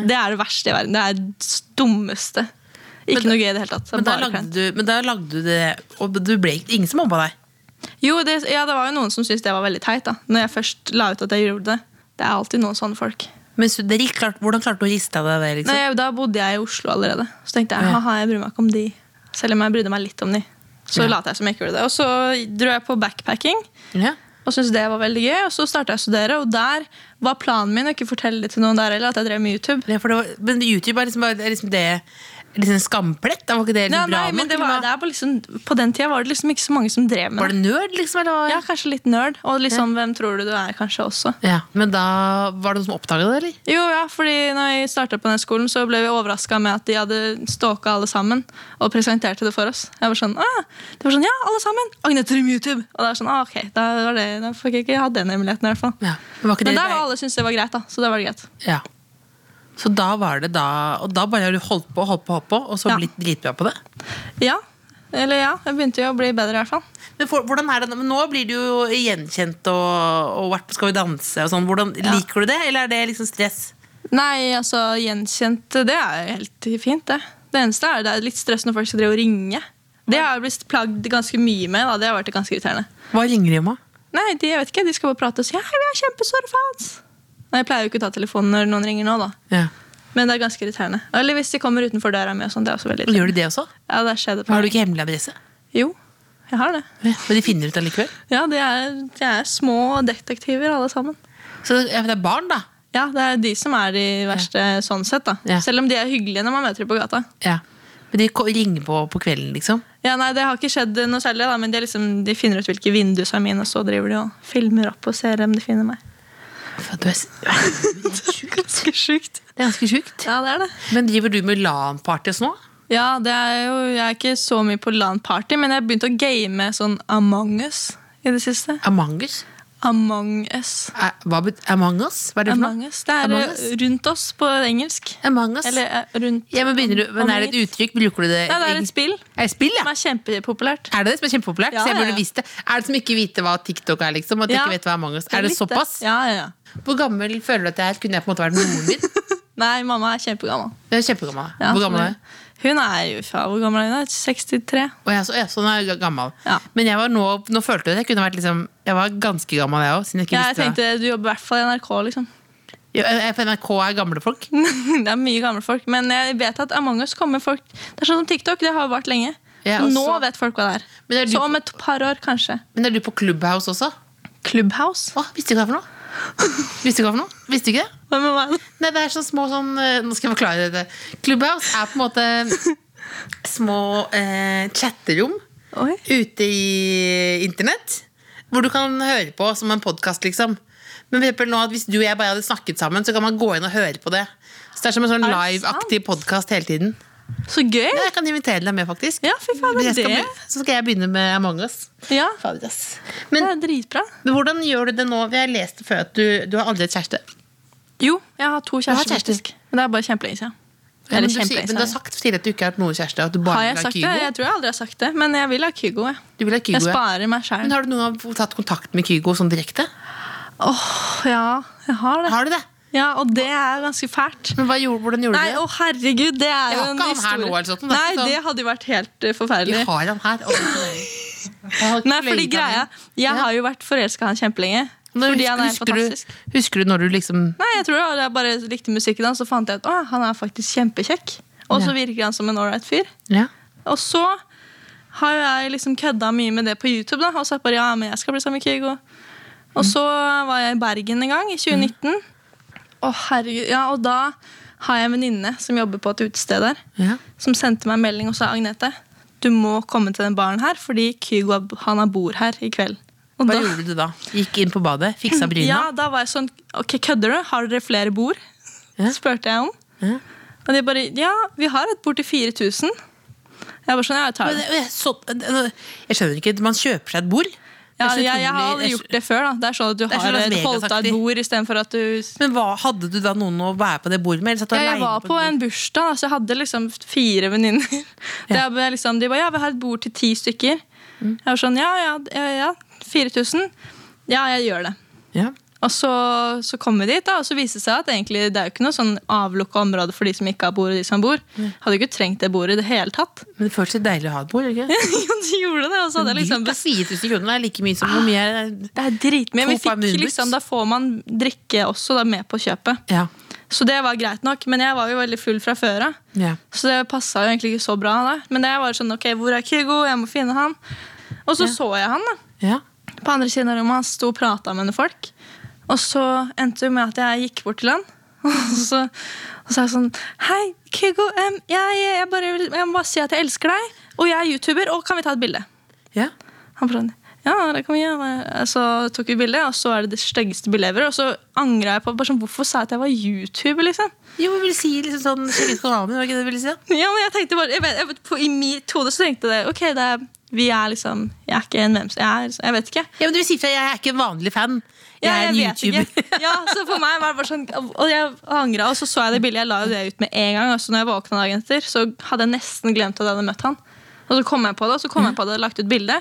[SPEAKER 4] det er det verste i verden. Det er det dummeste. Ikke
[SPEAKER 3] Men da-
[SPEAKER 4] noe gøy i det hele tatt. Det er
[SPEAKER 3] Men da,
[SPEAKER 4] bare
[SPEAKER 3] lagde
[SPEAKER 4] kleint.
[SPEAKER 3] du, men da lagde du det, og du ble ikke- ingen som mobba deg.
[SPEAKER 4] Jo, det, ja, det var jo noen som syntes det var veldig teit, da. Når jeg først la ut at jeg gjorde det. Det er alltid noen sånne folk.
[SPEAKER 3] Men så, det gikk klart, hvordan klarte du å riste av deg det? Liksom?
[SPEAKER 4] Nei, jeg- da bodde jeg i Oslo allerede. Så tenkte jeg
[SPEAKER 3] Ja.
[SPEAKER 4] haha, jeg bryr meg ikke om de. Selv om jeg brydde meg litt om de. Så lot jeg som jeg ikke gjorde det. Og så dro jeg på backpacking
[SPEAKER 3] Ja.
[SPEAKER 4] og syntes det var veldig gøy. Og så starta jeg å studere, og der var planen min å ikke fortelle det til noen der heller at jeg drev med YouTube.
[SPEAKER 3] Ja, for det var, men YouTube er liksom, bare- det er liksom det liksom en skamplett? Det var ikke det liksom
[SPEAKER 4] Nei,
[SPEAKER 3] bra
[SPEAKER 4] nei,
[SPEAKER 3] nok?
[SPEAKER 4] men det var,
[SPEAKER 3] eller
[SPEAKER 4] det
[SPEAKER 3] hva?
[SPEAKER 4] er på, liksom, på den tida var det liksom ikke så mange som drev
[SPEAKER 3] var
[SPEAKER 4] med det.
[SPEAKER 3] det nerd, liksom? Eller? hva?
[SPEAKER 4] Ja, kanskje litt nerd. Og liksom, hvem tror du du er, kanskje også.
[SPEAKER 3] Ja, Men da var det noen som oppdaga det, eller?
[SPEAKER 4] Jo, ja, fordi når jeg starta på den skolen, så ble vi overraska med at de hadde stalka alle sammen og presenterte det for oss. Jeg var sånn, ah, det var sånn, ja, alle sammen! Agnete Rym YouTube! Og det var sånn, ah, ok, da, var det, da fikk jeg ikke ha den hemmeligheten, i hvert fall.
[SPEAKER 3] Ja, men var ikke
[SPEAKER 4] Men
[SPEAKER 3] det
[SPEAKER 4] der
[SPEAKER 3] deg-
[SPEAKER 4] var alle syntes det var greit, da. Så da var det greit.
[SPEAKER 3] Ja. Så da var det da Og da bare har du holdt på holdt på, holdt på og så
[SPEAKER 4] Ja.
[SPEAKER 3] blitt dritbra på det?
[SPEAKER 4] Ja. Eller ja, jeg begynte jo å bli bedre, i hvert fall.
[SPEAKER 3] Men for, hvordan er det nå? Men nå blir du jo gjenkjent og, og vært på Skal vi danse og sånn. Hvordan, Liker du det, eller er det liksom stress?
[SPEAKER 4] Nei, altså, gjenkjent, det er jo helt fint, det. Det eneste er det er litt stress når folk skal drive og ringe. Det har jeg blitt plagd ganske mye med, da. Det har vært ganske irriterende.
[SPEAKER 3] Hva ringer de om? da?
[SPEAKER 4] Nei, de, jeg vet ikke, de skal bare prate og si «Hei, vi er kjempesåre fans!» Nei, jeg pleier jo ikke å ta telefonen når noen ringer nå da
[SPEAKER 3] Ja.
[SPEAKER 4] Men det er ganske irriterende Eller hvis de kommer utenfor døra mi og sånn, det er også veldig
[SPEAKER 3] Gjør
[SPEAKER 4] irriterende
[SPEAKER 3] de det også?
[SPEAKER 4] Ja, det skjedde på
[SPEAKER 3] Har du ikke hemmelig adresse?
[SPEAKER 4] Jo, jeg har det
[SPEAKER 3] Ja, Men de finner ut allikevel?
[SPEAKER 4] Ja, de er, de er små detektiver alle sammen
[SPEAKER 3] Så ja, det er barn, da?
[SPEAKER 4] Ja, det er de som er de verste sånn sett da
[SPEAKER 3] Ja.
[SPEAKER 4] Selv om de er hyggelige når man møter dem på gata
[SPEAKER 3] Ja. Men de ko- ringer på på kvelden, liksom?
[SPEAKER 4] Ja, nei, det har ikke skjedd noe særlig da Men de, er liksom, de finner ut hvilke vinduer som er mine Og så driver de og filmer opp og ser om de finner meg
[SPEAKER 3] Du er s-
[SPEAKER 4] Ganske sjukt.
[SPEAKER 3] Det er ganske sjukt.
[SPEAKER 4] Ja, det er det.
[SPEAKER 3] Men driver du med LAN-parties nå?
[SPEAKER 4] Ja, det er jo, jeg er ikke så mye på LAN-party, men jeg har begynt å game sånn Among us i det siste.
[SPEAKER 3] Among us?
[SPEAKER 4] Among us.
[SPEAKER 3] Er, hva bet Among us? Hva er det for
[SPEAKER 4] Among
[SPEAKER 3] noe?
[SPEAKER 4] us. Det er
[SPEAKER 3] Among
[SPEAKER 4] eh,
[SPEAKER 3] us?
[SPEAKER 4] rundt oss på engelsk.
[SPEAKER 3] Among us?
[SPEAKER 4] Eller eh, rundt
[SPEAKER 3] ja, men, begynner du, men er det et uttrykk? Bruker du det?
[SPEAKER 4] Nei, det er
[SPEAKER 3] i-
[SPEAKER 4] et spill
[SPEAKER 3] Er det spill, ja?
[SPEAKER 4] som er kjempepopulært.
[SPEAKER 3] Er det det som er kjempepopulært?
[SPEAKER 4] Ja,
[SPEAKER 3] så jeg
[SPEAKER 4] ja,
[SPEAKER 3] burde
[SPEAKER 4] ja.
[SPEAKER 3] visst det. Er det som ikke vite hva TikTok er, liksom? At de
[SPEAKER 4] Ja.
[SPEAKER 3] ikke vet hva Among us er? Er det
[SPEAKER 4] litt
[SPEAKER 3] såpass?
[SPEAKER 4] Ja, ja, ja.
[SPEAKER 3] Hvor gammel føler du at jeg er? Kunne jeg på en måte vært moren din?
[SPEAKER 4] Nei, mamma er kjempegammel.
[SPEAKER 3] Jeg er kjempegammel.
[SPEAKER 4] Ja, sånn,
[SPEAKER 3] Hvor gammel er
[SPEAKER 4] hun?
[SPEAKER 3] jeg?
[SPEAKER 4] Hun er jo faen, hvor gammel er hun? da? 63.
[SPEAKER 3] Å, jeg er så, jeg er sånn er jeg gammel.
[SPEAKER 4] Ja.
[SPEAKER 3] Men jeg var nå, nå følte jeg at jeg kunne vært liksom Jeg var ganske gammel, jeg òg. Siden jeg ikke
[SPEAKER 4] Ja, jeg
[SPEAKER 3] visste hva-
[SPEAKER 4] tenkte du jobber i hvert fall i NRK, liksom.
[SPEAKER 3] Jo, jeg- jeg- For NRK er gamle folk.
[SPEAKER 4] Mm. Det er mye gamle folk, men jeg vet at Among us kommer folk Det er sånn som TikTok, det har jo vart lenge.
[SPEAKER 3] Ja, og
[SPEAKER 4] Nå
[SPEAKER 3] så-
[SPEAKER 4] vet folk hva det er.
[SPEAKER 3] Men er du
[SPEAKER 4] så
[SPEAKER 3] på-
[SPEAKER 4] om et par år, kanskje.
[SPEAKER 3] Men er du på Clubhouse også?
[SPEAKER 4] Clubhouse?
[SPEAKER 3] Å, visste ikke hva for noe? Visste ikke hva for noe? Visste ikke det?
[SPEAKER 4] Hvem er det?
[SPEAKER 3] Nei, det er sånn små sånn eh, Nå skal jeg forklare dette. Clubhouse er på en måte små eh, chatterom
[SPEAKER 4] Oi.
[SPEAKER 3] ute i internett. Hvor du kan høre på som en podkast, liksom. Men for eksempel nå at hvis du og jeg bare hadde snakket sammen, så kan man gå inn og høre på det. Så det er som en sånn
[SPEAKER 4] det
[SPEAKER 3] live-aktiv podkast hele tiden.
[SPEAKER 4] Så gøy!
[SPEAKER 3] Ja, jeg kan invitere deg med, faktisk.
[SPEAKER 4] Ja, fy faen,
[SPEAKER 3] Jeg skal
[SPEAKER 4] det.
[SPEAKER 3] be- Så skal jeg begynne med Among us.
[SPEAKER 4] Ja,
[SPEAKER 3] Fader, ass.
[SPEAKER 4] det
[SPEAKER 3] Men
[SPEAKER 4] er dritbra.
[SPEAKER 3] hvordan gjør du det nå? Jeg leste før at du, du har aldri hatt kjæreste.
[SPEAKER 4] Jo, jeg har to
[SPEAKER 3] har
[SPEAKER 4] kjærester,
[SPEAKER 3] kjærester.
[SPEAKER 4] faktisk. Men det er bare kjempelenge siden.
[SPEAKER 3] Ja, men,
[SPEAKER 4] Eller
[SPEAKER 3] du, sier-
[SPEAKER 4] kjempelenge
[SPEAKER 3] men du har
[SPEAKER 4] siden.
[SPEAKER 3] sagt tidligere at du ikke har hatt noen kjæreste. At du bare
[SPEAKER 4] Har jeg
[SPEAKER 3] vil ha
[SPEAKER 4] sagt
[SPEAKER 3] Kygo.
[SPEAKER 4] det? Jeg tror jeg aldri har sagt det, men jeg vil ha Kygo. Jeg,
[SPEAKER 3] Du vil ha Kygo.
[SPEAKER 4] jeg
[SPEAKER 3] ja.
[SPEAKER 4] sparer meg sjæl.
[SPEAKER 3] Men har du noen gang tatt kontakt med Kygo sånn direkte?
[SPEAKER 4] Ja, jeg har det.
[SPEAKER 3] Har du det?
[SPEAKER 4] Ja, og det er ganske fælt.
[SPEAKER 3] Men hva gjorde, hvordan gjorde
[SPEAKER 4] Nei,
[SPEAKER 3] du
[SPEAKER 4] å
[SPEAKER 3] det?
[SPEAKER 4] herregud, det er
[SPEAKER 3] Jeg
[SPEAKER 4] jo
[SPEAKER 3] har
[SPEAKER 4] en
[SPEAKER 3] ikke han her
[SPEAKER 4] historie.
[SPEAKER 3] nå, eller sånn, det er
[SPEAKER 4] Nei,
[SPEAKER 3] ikke sånn-
[SPEAKER 4] det hadde jo vært helt eh, forferdelig.
[SPEAKER 3] Vi har han her. Å, jeg har
[SPEAKER 4] Nei, fordi
[SPEAKER 3] fløyet
[SPEAKER 4] greia
[SPEAKER 3] han inn.
[SPEAKER 4] Jeg
[SPEAKER 3] Ja.
[SPEAKER 4] har jo vært forelska i han kjempelenge.
[SPEAKER 3] Når
[SPEAKER 4] Fordi han er
[SPEAKER 3] husker,
[SPEAKER 4] fantastisk.
[SPEAKER 3] husker, du, husker du når du liksom
[SPEAKER 4] Nei, jeg tror det, jeg bare likte musikken hans, så fant jeg ut at han er faktisk kjempekjekk. Og
[SPEAKER 3] Ja.
[SPEAKER 4] så virker han som en ålreit fyr.
[SPEAKER 3] Ja.
[SPEAKER 4] Og så har jo jeg liksom kødda mye med det på YouTube. da, Og sagt bare ja, men jeg skal bli sammen med Kygo. Og så var jeg i Bergen en
[SPEAKER 3] Mm.
[SPEAKER 4] gang, i 2019. Å herregud, ja, Og da har jeg en venninne som jobber på et utested der,
[SPEAKER 3] Ja.
[SPEAKER 4] som sendte meg en melding og sa Agnete, du må komme til den baren her, fordi Kygo han bor her i kveld. Og
[SPEAKER 3] Hva
[SPEAKER 4] da-
[SPEAKER 3] gjorde du da? Gikk inn på badet, fiksa bryna?
[SPEAKER 4] Ja, da var jeg sånn Ok, kødder du? Har dere flere bord?
[SPEAKER 3] Ja.
[SPEAKER 4] Spurte jeg om.
[SPEAKER 3] Ja.
[SPEAKER 4] Og de bare Ja, vi har et bord til 4000. Jeg bare sånn, ja, jeg tar
[SPEAKER 3] Men
[SPEAKER 4] det.
[SPEAKER 3] det- jeg, så, jeg skjønner ikke. Man kjøper seg et bord. Det
[SPEAKER 4] Ja,
[SPEAKER 3] er så
[SPEAKER 4] jeg, jeg har
[SPEAKER 3] utrolig-
[SPEAKER 4] aldri gjort det før. da Det er sånn at du
[SPEAKER 3] er sånn
[SPEAKER 4] har
[SPEAKER 3] Las
[SPEAKER 4] et
[SPEAKER 3] Vegas-aktig.
[SPEAKER 4] holdt av et bord istedenfor at du
[SPEAKER 3] Men hva, hadde du da noen å være på det bordet med? Eller satt du
[SPEAKER 4] ja, Jeg
[SPEAKER 3] alene
[SPEAKER 4] var
[SPEAKER 3] på et
[SPEAKER 4] på
[SPEAKER 3] bord?
[SPEAKER 4] en bursdag, da, så jeg hadde liksom fire venninner.
[SPEAKER 3] Ja.
[SPEAKER 4] Det er Liksom, de bare ja, vi har et bord til ti stykker. Jeg var sånn ja, ja, ja, ja. 4000. Ja, jeg gjør det.
[SPEAKER 3] Ja.
[SPEAKER 4] Og så, så kom vi dit, da, og så viste det seg at egentlig, det er jo ikke noe sånn avlukka område for de som ikke har bord. og de som bor. Hadde jo ikke trengt det bordet i det hele tatt.
[SPEAKER 3] Men det føltes litt deilig å ha et bord? ikke?
[SPEAKER 4] Jo, de gjorde det, og så hadde jeg liksom
[SPEAKER 3] Dyrt, da. 4000 kroner er like mye som hvor mye er det?
[SPEAKER 4] Det er dritmye.
[SPEAKER 3] To
[SPEAKER 4] Vi
[SPEAKER 3] par
[SPEAKER 4] fikk
[SPEAKER 3] Moonboots.
[SPEAKER 4] liksom, da får man drikke også da, med på kjøpet.
[SPEAKER 3] Ja.
[SPEAKER 4] Så det var greit nok, men jeg var jo veldig full fra før av.
[SPEAKER 3] ja.
[SPEAKER 4] Så det passa jo egentlig ikke så bra. da. Men jeg var sånn, ok, hvor er Kygo? Jeg må finne han. Og så så jeg han, da.
[SPEAKER 3] ja.
[SPEAKER 4] på andre siden av rommet. Han sto og prata med noen folk. Og så endte det med at jeg gikk bort til han. Og så, og så er jeg sånn Hei, Kygo. em, jeg, jeg, bare, vil- jeg må bare si at jeg elsker deg. Og jeg er youtuber, og kan vi ta et bilde?
[SPEAKER 3] ja.
[SPEAKER 4] Han bare sånn Ja, det kan vi gjøre. Så tok vi bilde, og så er det det styggeste bildet jeg ever. Og så angra jeg på bare sånn, hvorfor sa jeg at jeg var youtuber, liksom?
[SPEAKER 3] Jo, jeg vil si liksom sånn Sjekk ut kanalen min, var ikke det du ville si? da?
[SPEAKER 4] Ja, men jeg tenkte bare, jeg vet, jeg, vet- på, I mitt hode så tenkte jeg ok, det er, vi er liksom Jeg er ikke en hvem som jeg, er, jeg vet ikke.
[SPEAKER 3] Ja, men du vil si fra jeg er ikke en vanlig fan. Jeg
[SPEAKER 4] Ja,
[SPEAKER 3] er en
[SPEAKER 4] jeg vet
[SPEAKER 3] YouTuber.
[SPEAKER 4] Ikke. Ja, så for meg var det bare sånn Og jeg angra, og så så jeg det bildet. Jeg la jo det ut med en gang. Og så når jeg våkna dagen etter, så hadde jeg nesten glemt at jeg hadde møtt han. Og så kom jeg på det, og så kom jeg på at jeg hadde lagt ut bilde.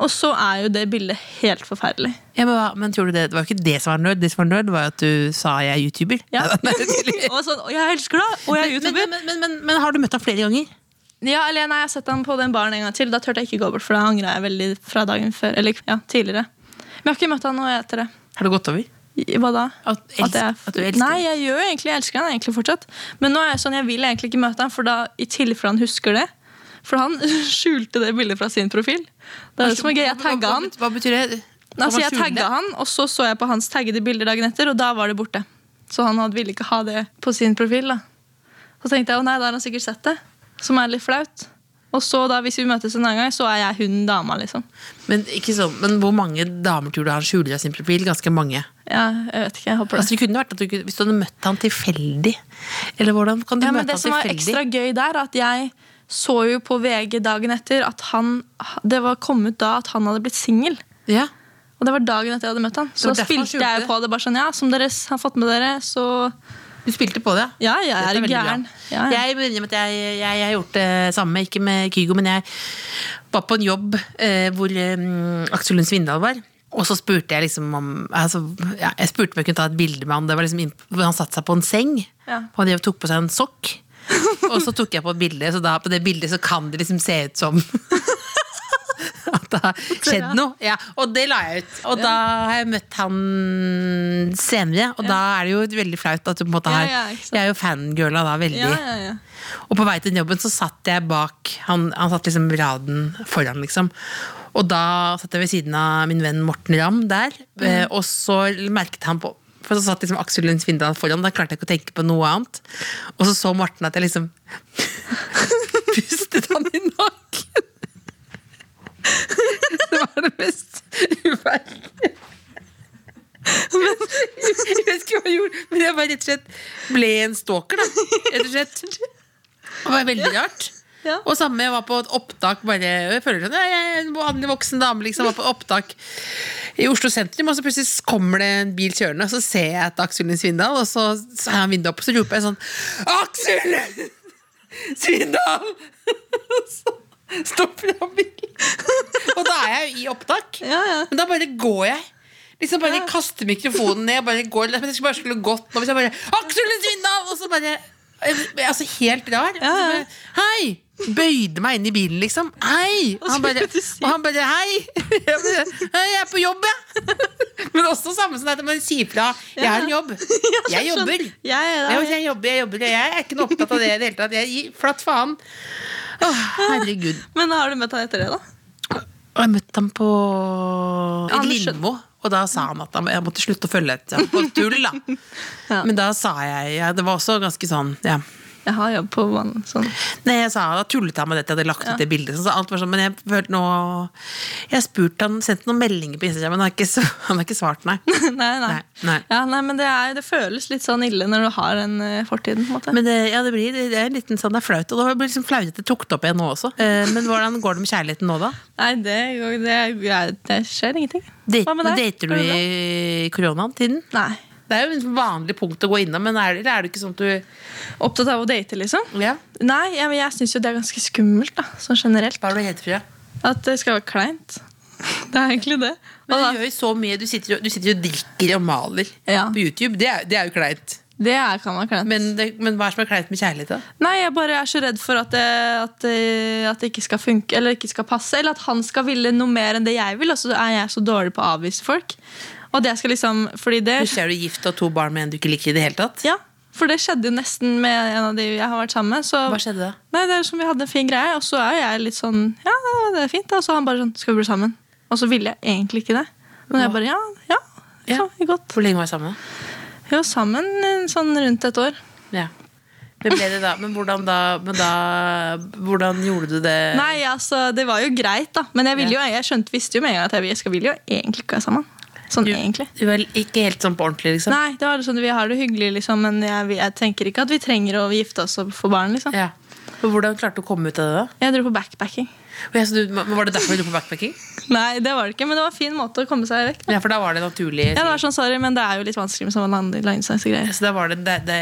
[SPEAKER 4] Og så er jo det bildet helt forferdelig.
[SPEAKER 3] Ja, men, hva- men tror du det, det var jo ikke det som var nerd. Det som var nerd, var jo at du sa jeg er YouTuber.
[SPEAKER 4] Ja.
[SPEAKER 3] Nei, tydelig.
[SPEAKER 4] Og sånn, «Å, jeg elsker deg, og jeg er
[SPEAKER 3] men,
[SPEAKER 4] YouTuber.
[SPEAKER 3] men, men, men, men, men har du møtt ham flere ganger?
[SPEAKER 4] Ja, eller nei, Jeg har sett han på den baren en gang til. Da turte jeg ikke gå bort, for da angra jeg veldig fra dagen før. Eller ja, tidligere. Men jeg har ikke møtt han nå etter det.
[SPEAKER 3] Har det gått over?
[SPEAKER 4] I- Hva da?
[SPEAKER 3] At, elsk,
[SPEAKER 4] jeg-
[SPEAKER 3] at, du elsker
[SPEAKER 4] Nei, jeg gjør jo egentlig, jeg elsker han egentlig fortsatt. Men nå er jeg sånn, jeg vil egentlig ikke møte han, for da, i tilfelle han husker det. For han skjulte det bildet fra sin profil. Det er det som er gøy, Jeg tagga
[SPEAKER 3] Hva-
[SPEAKER 4] han,
[SPEAKER 3] Hva, hva betyr det? Kan
[SPEAKER 4] altså
[SPEAKER 3] man skjule
[SPEAKER 4] jeg
[SPEAKER 3] det?
[SPEAKER 4] tagget han, og så så jeg på hans taggede bilder dagen etter, og da var det borte. Så han hadde- ville ikke ha det på sin profil. da. Så tenkte jeg å nei, da har han sikkert sett det, som er litt flaut. Og så da, hvis vi møtes en annen gang, så er jeg hun dama, liksom.
[SPEAKER 3] Men, ikke sånn, men hvor mange damer tror du han skjuler av sin profil? Ganske mange.
[SPEAKER 4] Ja, jeg vet ikke, jeg håper det.
[SPEAKER 3] Altså, det kunne vært at du, ikke- Hvis du hadde møtt han tilfeldig Eller hvordan kan du
[SPEAKER 4] Ja, men
[SPEAKER 3] møte
[SPEAKER 4] det
[SPEAKER 3] han
[SPEAKER 4] som var
[SPEAKER 3] tilfeldig?
[SPEAKER 4] ekstra gøy der, at jeg så jo på VG dagen etter at han Det var kommet da at han hadde blitt singel.
[SPEAKER 3] Ja.
[SPEAKER 4] Og det var dagen etter jeg hadde møtt han. Så
[SPEAKER 3] var
[SPEAKER 4] da
[SPEAKER 3] derfor han
[SPEAKER 4] spilte jeg
[SPEAKER 3] skjulte
[SPEAKER 4] jo på det bare sånn, ja, som dere s- har fått med dere, så
[SPEAKER 3] Du spilte på det?
[SPEAKER 4] Ja, jeg
[SPEAKER 3] Dette
[SPEAKER 4] er
[SPEAKER 3] veldig bra.
[SPEAKER 4] gæren. Ja, ja.
[SPEAKER 3] Jeg må innrømme at jeg, jeg, jeg har gjort det samme, ikke med Kygo, men jeg var på en jobb eh, hvor eh, Aksel Lund Svindal var. Og så spurte jeg liksom om altså, ja, Jeg spurte om jeg kunne ta et bilde med han. Det var liksom inn, hvor Han satte seg på en seng,
[SPEAKER 4] Ja.
[SPEAKER 3] og de tok på seg en sokk. og så tok jeg på et bilde, så da på det bildet så kan det liksom se ut som at det har skjedd noe. Ja, og det la jeg ut. Og da har jeg møtt han senere, og da er det jo veldig flaut at du på en måte
[SPEAKER 4] Ja,
[SPEAKER 3] har
[SPEAKER 4] ja, ikke sant.
[SPEAKER 3] Jeg er jo fangirla da veldig.
[SPEAKER 4] Ja, ja, ja.
[SPEAKER 3] Og på vei til den jobben så satt jeg bak Han, han satt liksom raden foran, liksom. Og da satt jeg ved siden av min venn Morten Ramm der, eh, og så merket han på for så satt liksom Aksel Lund Svindal foran, da klarte jeg ikke å tenke på noe annet. Og så så Morten at jeg liksom pustet han i nakken. Det var det mest uverdige. Men, jeg vet ikke hva jeg gjorde, men jeg bare rett og slett ble en stalker, da. Rett og slett. Det var veldig rart.
[SPEAKER 4] Ja.
[SPEAKER 3] Og samme, jeg var på et opptak bare, Jeg føler sånn, jeg er en vanlig voksen dame liksom, var på opptak i Oslo sentrum, og så plutselig kommer det en bil kjørende, og så ser jeg etter Aksel Lund Svindal, og så så har han vinduet opp, og så roper jeg sånn Aksel Svindal! Og så stopper han bilen. Og da er jeg jo i opptak.
[SPEAKER 4] Ja, ja.
[SPEAKER 3] Men da bare går jeg. Liksom bare kaster mikrofonen ned. Bare går, men jeg skulle bare skulle gått nå hvis jeg bare Aksel Lund Svindal! Og så bare jeg ble Altså helt rar. Og så
[SPEAKER 4] ja.
[SPEAKER 3] bare, Hei! Bøyde meg inn i bilen, liksom. Hei! Og han bare, og han bare Hei! Jeg, bare, hei, jeg er på jobb, jeg! Men også samme som at man sier fra. Jeg har en jobb. Jeg jobber.
[SPEAKER 4] Jeg er
[SPEAKER 3] Ja,
[SPEAKER 4] der.
[SPEAKER 3] jeg jobber, jeg jobber, og jeg er ikke noe opptatt av det i det hele tatt. Jeg gir flatt faen. Åh, herregud.
[SPEAKER 4] Men har du møtt han etter det, da?
[SPEAKER 3] Og jeg møtte ham på i
[SPEAKER 4] Anders-
[SPEAKER 3] Lindmo, og da sa han at han, jeg måtte slutte å følge etter ham på tull, da.
[SPEAKER 4] Ja.
[SPEAKER 3] Men da sa jeg ja, Det var også ganske sånn, ja.
[SPEAKER 4] Jeg har jobb på banen. Sånn.
[SPEAKER 3] Nei, jeg sa da tullet han med dette, jeg hadde lagt ut det bildet. Så alt var sånn, men jeg følte nå Jeg har spurt han, sendt noen meldinger på Instagram, men han har ikke, s- han har ikke svart, nei.
[SPEAKER 4] Nei, nei.
[SPEAKER 3] Nei, nei.
[SPEAKER 4] Ja, nei men det, er, det føles litt sånn ille når du har den eh, fortiden. på en måte.
[SPEAKER 3] Men det, ja, det blir det er en liten sånn, det er flaut. Og det blir liksom flaut at det tok det opp igjen nå også. Eh, Men hvordan går det med kjærligheten nå, da?
[SPEAKER 4] Nei, det, går- det, er- det skjer ingenting.
[SPEAKER 3] Date,
[SPEAKER 4] Hva med deg?
[SPEAKER 3] Dater du
[SPEAKER 4] Går det bra?
[SPEAKER 3] i koronatiden?
[SPEAKER 4] Nei.
[SPEAKER 3] Det er jo et vanlig punkt å gå innom, men er, eller er det ikke sånn at du
[SPEAKER 4] Opptatt av å date, liksom?
[SPEAKER 3] ja.
[SPEAKER 4] Nei, jeg, jeg syns jo det er ganske skummelt, da, sånn generelt.
[SPEAKER 3] Hva er det du heter, Frida?
[SPEAKER 4] At det skal være kleint. Det er egentlig det. Og
[SPEAKER 3] Men
[SPEAKER 4] da,
[SPEAKER 3] du gjør jo så mye. Du sitter, jo- du sitter jo og drikker og maler
[SPEAKER 4] Ja.
[SPEAKER 3] på YouTube. Det er, det er jo kleint.
[SPEAKER 4] det er, kan være kleint.
[SPEAKER 3] Men, det, men hva er det som er kleint med kjærlighet, da?
[SPEAKER 4] Nei, jeg bare er så redd for at det, at, det, at det ikke skal funke, eller ikke skal passe. Eller at han skal ville noe mer enn det jeg vil, og så er jeg så dårlig på å avvise folk. Og det skal liksom, fordi det...
[SPEAKER 3] Plutselig er du gift og har to barn med en du ikke liker i det hele tatt.
[SPEAKER 4] Ja, for det skjedde jo nesten med en av de jeg har vært sammen med. Så,
[SPEAKER 3] Hva skjedde da?
[SPEAKER 4] Nei, det er som Vi hadde en fin greie, og så er jeg litt sånn Ja, det er fint. da. Og så han bare sånn Skal vi bli sammen? Og så ville jeg egentlig ikke det. Men jeg bare Ja, ja.
[SPEAKER 3] Ja.
[SPEAKER 4] Så, godt.
[SPEAKER 3] Hvor lenge var dere sammen? da?
[SPEAKER 4] Vi var sammen eh, sånn rundt et år.
[SPEAKER 3] Ja. Men, ble det da, men, hvordan da, men da Hvordan gjorde du det?
[SPEAKER 4] Nei, altså, det var jo greit, da. Men jeg, ville
[SPEAKER 3] Eh. Ja.
[SPEAKER 4] jo, jeg skjønte, visste jo med en gang at jeg, jeg skal ville jo egentlig ikke være sammen. Sånn
[SPEAKER 3] du,
[SPEAKER 4] egentlig.
[SPEAKER 3] Du var ikke helt sånn på ordentlig, liksom?
[SPEAKER 4] Nei, det var sånn, vi har det hyggelig, liksom, men jeg, jeg tenker ikke at vi trenger å gifte oss og få barn. liksom.
[SPEAKER 3] Ja. Men hvordan klarte du å komme ut av det, da?
[SPEAKER 4] Jeg dro på backpacking.
[SPEAKER 3] Og jeg, så du, men var det derfor du dro på backpacking?
[SPEAKER 4] Nei, det var det ikke, men det var en fin måte å komme seg vekk.
[SPEAKER 3] Ja, for da var det naturlig.
[SPEAKER 4] Ja, det var sånn, sorry, men det er jo litt vanskelig med sånne lang- langdistansegreier.
[SPEAKER 3] Så da var det, det, det,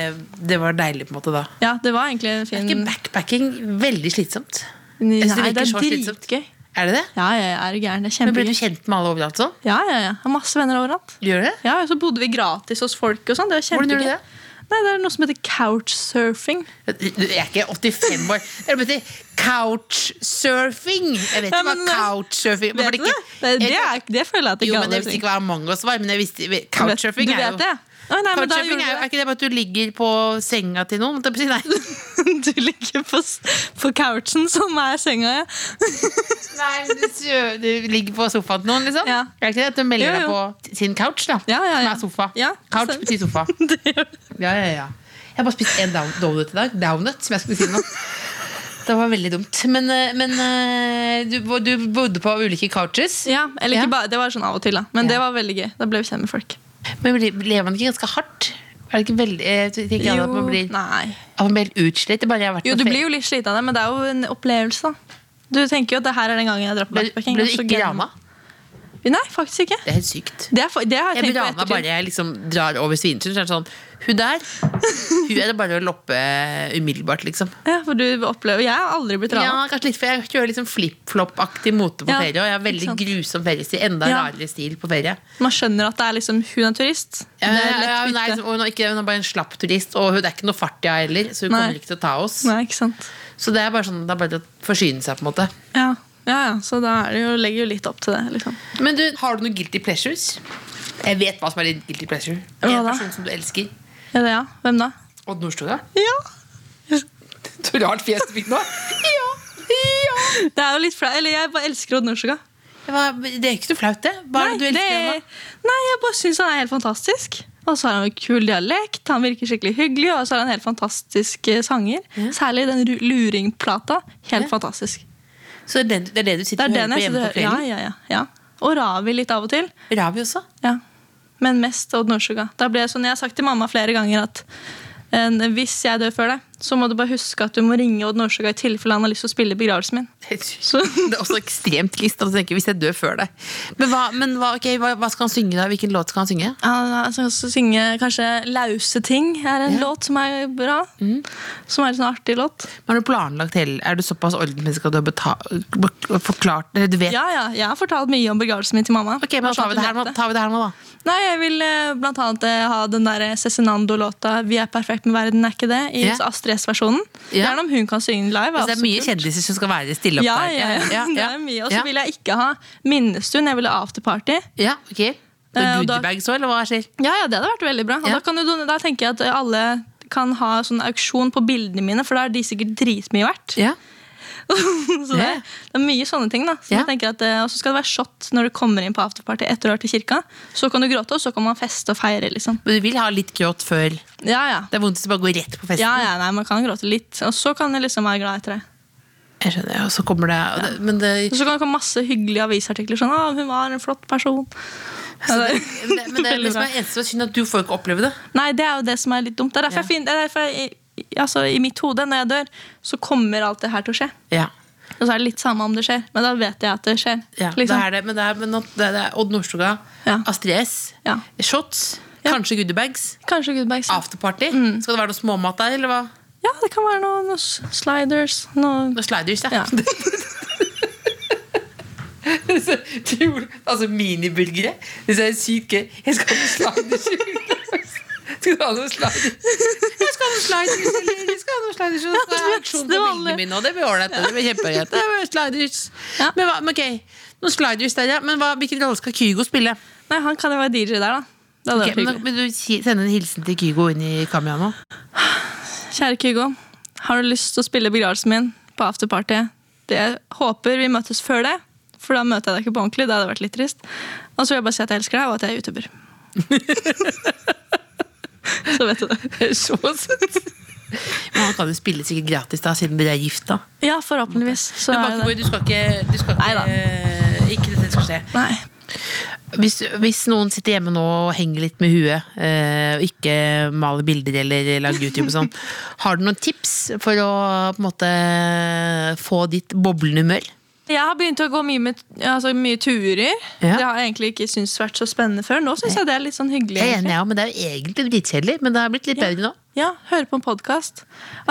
[SPEAKER 3] det var deilig på en måte da.
[SPEAKER 4] Ja, det var egentlig en fin
[SPEAKER 3] Er ikke backpacking veldig slitsomt?
[SPEAKER 4] Nei,
[SPEAKER 3] Jeg synes
[SPEAKER 4] det
[SPEAKER 3] virker
[SPEAKER 4] er
[SPEAKER 3] så slitsomt.
[SPEAKER 4] dritgøy.
[SPEAKER 3] Er det det?
[SPEAKER 4] Ja, ja, ja, er du gæren? Det er
[SPEAKER 3] Men Blir
[SPEAKER 4] kjempegøy.
[SPEAKER 3] du kjent med alle overalt sånn?
[SPEAKER 4] Ja, ja, ja. Har masse venner overalt.
[SPEAKER 3] Gjør du det?
[SPEAKER 4] Ja, og så bodde vi gratis hos folk og sånn. Det var
[SPEAKER 3] Hvordan
[SPEAKER 4] kjempegøy.
[SPEAKER 3] gjorde du det?
[SPEAKER 4] Nei, det er noe som heter couchsurfing.
[SPEAKER 3] Du, Jeg er ikke 85 år. Det betyr couchsurfing! Jeg vet
[SPEAKER 4] Ja,
[SPEAKER 3] ikke hva
[SPEAKER 4] men-
[SPEAKER 3] couchsurfing men var det
[SPEAKER 4] Vet du
[SPEAKER 3] ikke-
[SPEAKER 4] det? Det,
[SPEAKER 3] Jeg
[SPEAKER 4] det,
[SPEAKER 3] vet-
[SPEAKER 4] er, det føler jeg at det
[SPEAKER 3] Jo,
[SPEAKER 4] ikke
[SPEAKER 3] men
[SPEAKER 4] alle
[SPEAKER 3] jeg visste ikke hva Among us var. Men jeg visste, couchsurfing
[SPEAKER 4] Du
[SPEAKER 3] er
[SPEAKER 4] vet
[SPEAKER 3] jo
[SPEAKER 4] det? Nei, nei, men da
[SPEAKER 3] Couchsurfing er jo
[SPEAKER 4] gjorde
[SPEAKER 3] er ikke det bare at du ligger på senga til noen? Det betyr- Nei.
[SPEAKER 4] du Du ligger på, s- på couchen, som er senga, ja.
[SPEAKER 3] Nei, men du, sø- du ligger på sofaen til noen, liksom?
[SPEAKER 4] Ja.
[SPEAKER 3] Er det ikke det? At du melder
[SPEAKER 4] Jo,
[SPEAKER 3] deg
[SPEAKER 4] jo.
[SPEAKER 3] på sin couch, da?
[SPEAKER 4] Ja, ja,
[SPEAKER 3] Som
[SPEAKER 4] ja.
[SPEAKER 3] er sofa.
[SPEAKER 4] Ja,
[SPEAKER 3] couch
[SPEAKER 4] stemmer.
[SPEAKER 3] betyr sofa.
[SPEAKER 4] Det gjør det.
[SPEAKER 3] Ja, ja, ja. Jeg har bare spist en down- donut i dag. Downut, som jeg skulle si nå. Det var veldig dumt. Men, eh, men eh, du, bo- du bodde på ulike couches.
[SPEAKER 4] Ja, eller
[SPEAKER 3] Ja.
[SPEAKER 4] ikke bare, Det var sånn av og til, da. Men
[SPEAKER 3] Ja.
[SPEAKER 4] det var veldig gøy. Da ble vi kjent med folk.
[SPEAKER 3] Men blir- lever man ikke ganske hardt? Er det ikke veldig eh, jeg tenker jeg at man blir,
[SPEAKER 4] nei.
[SPEAKER 3] at man blir utslitt? Det er bare jeg har vært
[SPEAKER 4] Jo,
[SPEAKER 3] på
[SPEAKER 4] du
[SPEAKER 3] fe-
[SPEAKER 4] blir jo litt sliten av det, men det er jo en opplevelse, da. Du tenker jo at det her er den gangen jeg drar på
[SPEAKER 3] ble,
[SPEAKER 4] backpacking.
[SPEAKER 3] ble
[SPEAKER 4] og
[SPEAKER 3] du
[SPEAKER 4] så
[SPEAKER 3] ikke
[SPEAKER 4] gleder-
[SPEAKER 3] rana?
[SPEAKER 4] Nei, faktisk ikke.
[SPEAKER 3] Det er helt sykt.
[SPEAKER 4] Det, er, fa- det har jeg
[SPEAKER 3] Jeg
[SPEAKER 4] tenkt
[SPEAKER 3] blir
[SPEAKER 4] på i
[SPEAKER 3] rana bare
[SPEAKER 4] ettertid.
[SPEAKER 3] jeg liksom drar over Svinesund. Så er det sånn Hun der, hun er det bare å loppe umiddelbart, liksom.
[SPEAKER 4] Ja, for du opplever, Jeg har aldri blitt
[SPEAKER 3] Ja,
[SPEAKER 4] rana.
[SPEAKER 3] kanskje litt, for Jeg kjører liksom flip-flop-aktig mote på
[SPEAKER 4] Ja,
[SPEAKER 3] ferie. Og jeg har veldig
[SPEAKER 4] ikke sant.
[SPEAKER 3] grusom feriestil. Enda
[SPEAKER 4] Ja.
[SPEAKER 3] rarere stil på ferie.
[SPEAKER 4] Man skjønner at det er liksom, hun er turist.
[SPEAKER 3] Ja,
[SPEAKER 4] det er
[SPEAKER 3] ja, ja, hun, er,
[SPEAKER 4] lett
[SPEAKER 3] liksom-
[SPEAKER 4] bytte.
[SPEAKER 3] og hun, er ikke, hun er bare en slapp turist, og hun det er ikke noe fart i henne heller. Så hun
[SPEAKER 4] Nei.
[SPEAKER 3] kommer ikke til å ta oss.
[SPEAKER 4] Nei, ikke sant?
[SPEAKER 3] Så det er bare sånn, det er bare å forsyne seg. på en måte
[SPEAKER 4] Ja, ja, ja. Så da er det jo, legger jo litt opp til det. liksom.
[SPEAKER 3] Men du, har du noen guilty pleasures? Jeg vet hva som er din guilty pleasure.
[SPEAKER 4] Hva
[SPEAKER 3] En
[SPEAKER 4] da?
[SPEAKER 3] person som du elsker.
[SPEAKER 4] Ja, det, ja. Hvem da?
[SPEAKER 3] Odd Nordstoga.
[SPEAKER 4] Ja.
[SPEAKER 3] Så rart fjes du fikk nå. ja, ja.
[SPEAKER 4] Det er jo litt flaut. Eller jeg bare elsker Odd Nordstoga.
[SPEAKER 3] Det, var, det er ikke noe flaut, det. Hva er det du
[SPEAKER 4] Nei,
[SPEAKER 3] elsker med
[SPEAKER 4] det- Nei, jeg bare syns han er helt fantastisk. Og så har han en kul dialekt, han virker skikkelig hyggelig, og så har han helt fantastiske sanger. Særlig den ru- luringplata. Helt
[SPEAKER 3] Ja.
[SPEAKER 4] fantastisk.
[SPEAKER 3] Så det er, den, det er det du
[SPEAKER 4] Det er
[SPEAKER 3] sitter og
[SPEAKER 4] den
[SPEAKER 3] hører på
[SPEAKER 4] jeg
[SPEAKER 3] hjemme på
[SPEAKER 4] sitter ja,
[SPEAKER 3] kvelden?
[SPEAKER 4] ja, ja, ja. Og Ravi litt av og til.
[SPEAKER 3] Ravi også?
[SPEAKER 4] Ja. Men mest Odd Nordstoga. Da ble jeg sånn, Jeg har sagt til mamma flere ganger at eh, hvis jeg dør før deg, så må du bare huske at du må ringe Odd Nordstoga i tilfelle han har lyst til å spille i begravelsen min. Så-
[SPEAKER 3] Det er også ekstremt trist å tenke hvis jeg dør før deg. Men hva, men hva, ok, hva, hva skal han synge da? Hvilken låt skal han synge?
[SPEAKER 4] Han skal også altså, synge kanskje 'Lause ting' er en låt som er bra.
[SPEAKER 3] Mm.
[SPEAKER 4] Som er en sånn artig låt.
[SPEAKER 3] Men Har du planlagt hele, Er du såpass ordensmenneske at du har beta- be- forklart eller du vet?
[SPEAKER 4] Ja, ja, Jeg har fortalt mye om begravelsen min til mamma.
[SPEAKER 3] Ok, men da
[SPEAKER 4] Bare sånn
[SPEAKER 3] tar vi,
[SPEAKER 4] at
[SPEAKER 3] det
[SPEAKER 4] hun
[SPEAKER 3] her nå,
[SPEAKER 4] vet det.
[SPEAKER 3] tar vi det her nå, da.
[SPEAKER 4] Nei, Jeg vil eh, blant annet eh, ha den der Cezinando-låta 'Vi er perfekt med verden', er ikke det? I
[SPEAKER 3] Ja.
[SPEAKER 4] Astrid S-versjonen.
[SPEAKER 3] Ja.
[SPEAKER 4] Gjerne om hun kan synge den live.
[SPEAKER 3] Altså, det er mye kjendiser som skal være stille opp
[SPEAKER 4] Ja,
[SPEAKER 3] der.
[SPEAKER 4] ja, ja. Det er mye. Og så vil jeg ikke ha minnestund. Jeg vil ha afterparty.
[SPEAKER 3] ja, ok. Og
[SPEAKER 4] Eh, og da-
[SPEAKER 3] Goodiebags òg, eller hva skjer?
[SPEAKER 4] Ja, ja, det hadde vært veldig bra. Og
[SPEAKER 3] Ja.
[SPEAKER 4] da, kan du, don- da tenker jeg at alle kan ha sånn auksjon på bildene mine, for da er de sikkert dritmye verdt.
[SPEAKER 3] Ja.
[SPEAKER 4] så det,
[SPEAKER 3] Ja.
[SPEAKER 4] det er mye sånne ting. da så
[SPEAKER 3] Ja.
[SPEAKER 4] jeg tenker at, eh, Og så skal det være shot når du kommer inn på afterparty etter du har vært i kirka. Så kan du gråte, og så kan man feste og feire. liksom
[SPEAKER 3] Men du vil ha litt gråt før Det
[SPEAKER 4] Ja, ja.
[SPEAKER 3] er vondt hvis du bare går rett på festen.
[SPEAKER 4] Ja, ja, nei, Man kan gråte litt, og så kan du liksom være glad etter det.
[SPEAKER 3] Jeg skjønner, og så kommer det, og det Men det
[SPEAKER 4] Og så kan det komme masse hyggelige avisartikler. Sånn, ah, 'Hun var en flott person'. Ja, det-
[SPEAKER 3] Men det, men det er
[SPEAKER 4] Veldig
[SPEAKER 3] liksom
[SPEAKER 4] bra.
[SPEAKER 3] eneste som er synd, at du får ikke oppleve det.
[SPEAKER 4] Nei, det er jo det som er litt dumt. Det er derfor,
[SPEAKER 3] Ja.
[SPEAKER 4] jeg fin, det er derfor jeg, altså, I mitt hode, når jeg dør, så kommer alt det her til å skje.
[SPEAKER 3] Ja,
[SPEAKER 4] Og så er det litt samme om det skjer, men da vet jeg at det skjer. liksom.
[SPEAKER 3] det er det, men det er, men nå- det er, det er Odd Nordstoga,
[SPEAKER 4] Ja.
[SPEAKER 3] Astrid S,
[SPEAKER 4] Ja.
[SPEAKER 3] Shots,
[SPEAKER 4] Ja. Mm.
[SPEAKER 3] kanskje goodiebags,
[SPEAKER 4] Kanskje Goodbags.
[SPEAKER 3] afterparty. Skal det være noe småmat der, eller hva?
[SPEAKER 4] Ja, det kan være noen noe sliders. Noe
[SPEAKER 3] Noe sliders, ja.
[SPEAKER 4] Ja.
[SPEAKER 3] Så utrolig- altså miniburgere. Det er sykt gøy. Jeg skal ha noen sliders. i julegave. Skal du ha noen sliders? Jeg skal ha noen sliders, eller jeg skal ha noen sliders. Og så skal jeg ha aksjon på
[SPEAKER 4] Det var
[SPEAKER 3] bildene
[SPEAKER 4] alle.
[SPEAKER 3] mine, og det blir ålreit. og Det blir kjempeålreit. Det blir sliders.
[SPEAKER 4] Ja.
[SPEAKER 3] Men hva, men ok, noen sliders der, ja. Men hva, hvilken rolle skal Kygo spille?
[SPEAKER 4] Nei, han kan jo være DJ der, da. Det hadde
[SPEAKER 3] Ok,
[SPEAKER 4] vært
[SPEAKER 3] men, da-
[SPEAKER 4] hyggelig.
[SPEAKER 3] men du si- sende en hilsen til Kygo inn i kameraet nå?
[SPEAKER 4] Kjære Kygo, har du lyst til å spille begravelsen min på afterparty? Det- Jeg håper vi møtes før det, for da møter jeg deg ikke på ordentlig. Det hadde vært litt trist. Og så vil jeg bare si at jeg elsker deg, og at jeg er youtuber. så vet du det.
[SPEAKER 3] Så søtt. Men han kan jo spille sikkert gratis, da, siden dere er gift, da.
[SPEAKER 4] Ja, forhåpentligvis. Så
[SPEAKER 3] Men
[SPEAKER 4] er
[SPEAKER 3] Bakkeboy,
[SPEAKER 4] det.
[SPEAKER 3] du skal ikke, du skal
[SPEAKER 4] Neida.
[SPEAKER 3] ikke, ikke dette skal skje.
[SPEAKER 4] Nei.
[SPEAKER 3] Hvis, hvis noen sitter hjemme nå og henger litt med huet, eh, og ikke maler bilder eller lager YouTube og sånn, har du noen tips for å på en måte få ditt boblende humør?
[SPEAKER 4] Jeg har begynt å gå mye, med, altså, mye turer.
[SPEAKER 3] Ja.
[SPEAKER 4] Det har jeg egentlig ikke syntes vært så spennende før. Nå syns jeg det er litt sånn hyggelig.
[SPEAKER 3] Jeg er
[SPEAKER 4] egentlig.
[SPEAKER 3] enig, ja, men det er jo egentlig dritkjedelig, men det har blitt litt bedre nå.
[SPEAKER 4] Ja, høre på en podkast.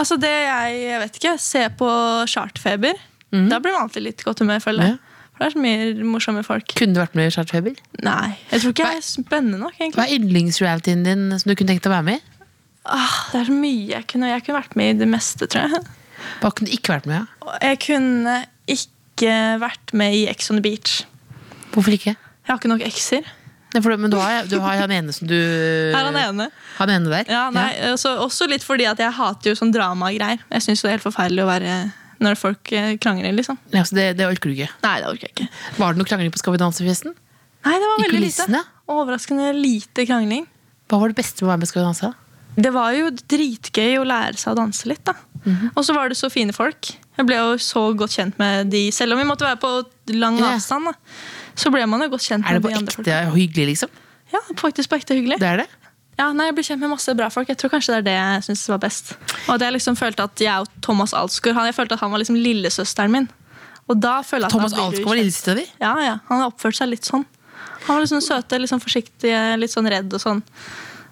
[SPEAKER 4] Altså det jeg, jeg vet ikke, se på Chartfeber. Da blir man alltid litt godt humør, føler jeg.
[SPEAKER 3] Mhm. Ja.
[SPEAKER 4] For det er så mye morsomme folk.
[SPEAKER 3] Kunne du vært med i Chartfeber?
[SPEAKER 4] Nei, jeg tror ikke jeg er spennende nok, egentlig.
[SPEAKER 3] Hva er yndlingsrealityen din som du kunne tenkt å være med i?
[SPEAKER 4] Ah, det er så mye jeg kunne Jeg kunne vært med i det meste, tror jeg.
[SPEAKER 3] Hva kunne du ikke vært med i?
[SPEAKER 4] Og Jeg kunne ikke vært med i Ex on the Beach.
[SPEAKER 3] Hvorfor ikke?
[SPEAKER 4] Jeg har ikke nok ekser.
[SPEAKER 3] Nei, for, men du har, du har han ene som du
[SPEAKER 4] Her er han
[SPEAKER 3] Eh,
[SPEAKER 4] ene.
[SPEAKER 3] Han ene der?
[SPEAKER 4] Ja, nei, altså, også litt fordi at jeg hater jo sånn dramagreier. Jeg syns det er helt forferdelig å være når folk eh, krangler, liksom.
[SPEAKER 3] Ja, så det, det orker du ikke.
[SPEAKER 4] Nei, det orker jeg ikke.
[SPEAKER 3] Var det noe krangling på Skal vi danse-festen?
[SPEAKER 4] Nei, det var
[SPEAKER 3] I
[SPEAKER 4] veldig
[SPEAKER 3] kulissene?
[SPEAKER 4] lite. Overraskende lite krangling.
[SPEAKER 3] Hva var det beste med å være med i Skal vi danse?
[SPEAKER 4] det var jo dritgøy å lære seg å danse litt, da.
[SPEAKER 3] Mhm.
[SPEAKER 4] Og så var det så fine folk. Jeg ble jo så godt kjent med de, selv om vi måtte være på lang
[SPEAKER 3] Ja.
[SPEAKER 4] avstand. da. Så ble man jo godt kjent
[SPEAKER 3] Er det
[SPEAKER 4] med
[SPEAKER 3] på
[SPEAKER 4] de andre
[SPEAKER 3] ekte
[SPEAKER 4] folka.
[SPEAKER 3] hyggelig, liksom?
[SPEAKER 4] Ja, faktisk på ekte hyggelig.
[SPEAKER 3] Det er det?
[SPEAKER 4] Ja, nei, Jeg ble kjent med masse bra folk. Jeg tror kanskje det er det jeg synes var best. Og at Jeg liksom følte at jeg og Thomas Alsgaard han- Jeg følte at han var liksom lillesøsteren min. Og da føler jeg at
[SPEAKER 3] Thomas
[SPEAKER 4] da blir du
[SPEAKER 3] Alsgaard var
[SPEAKER 4] kjent.
[SPEAKER 3] lillesøster di?
[SPEAKER 4] Ja, ja. Han har oppført seg litt sånn. Han var litt sånn søte, litt sånn forsiktig, litt sånn redd og sånn.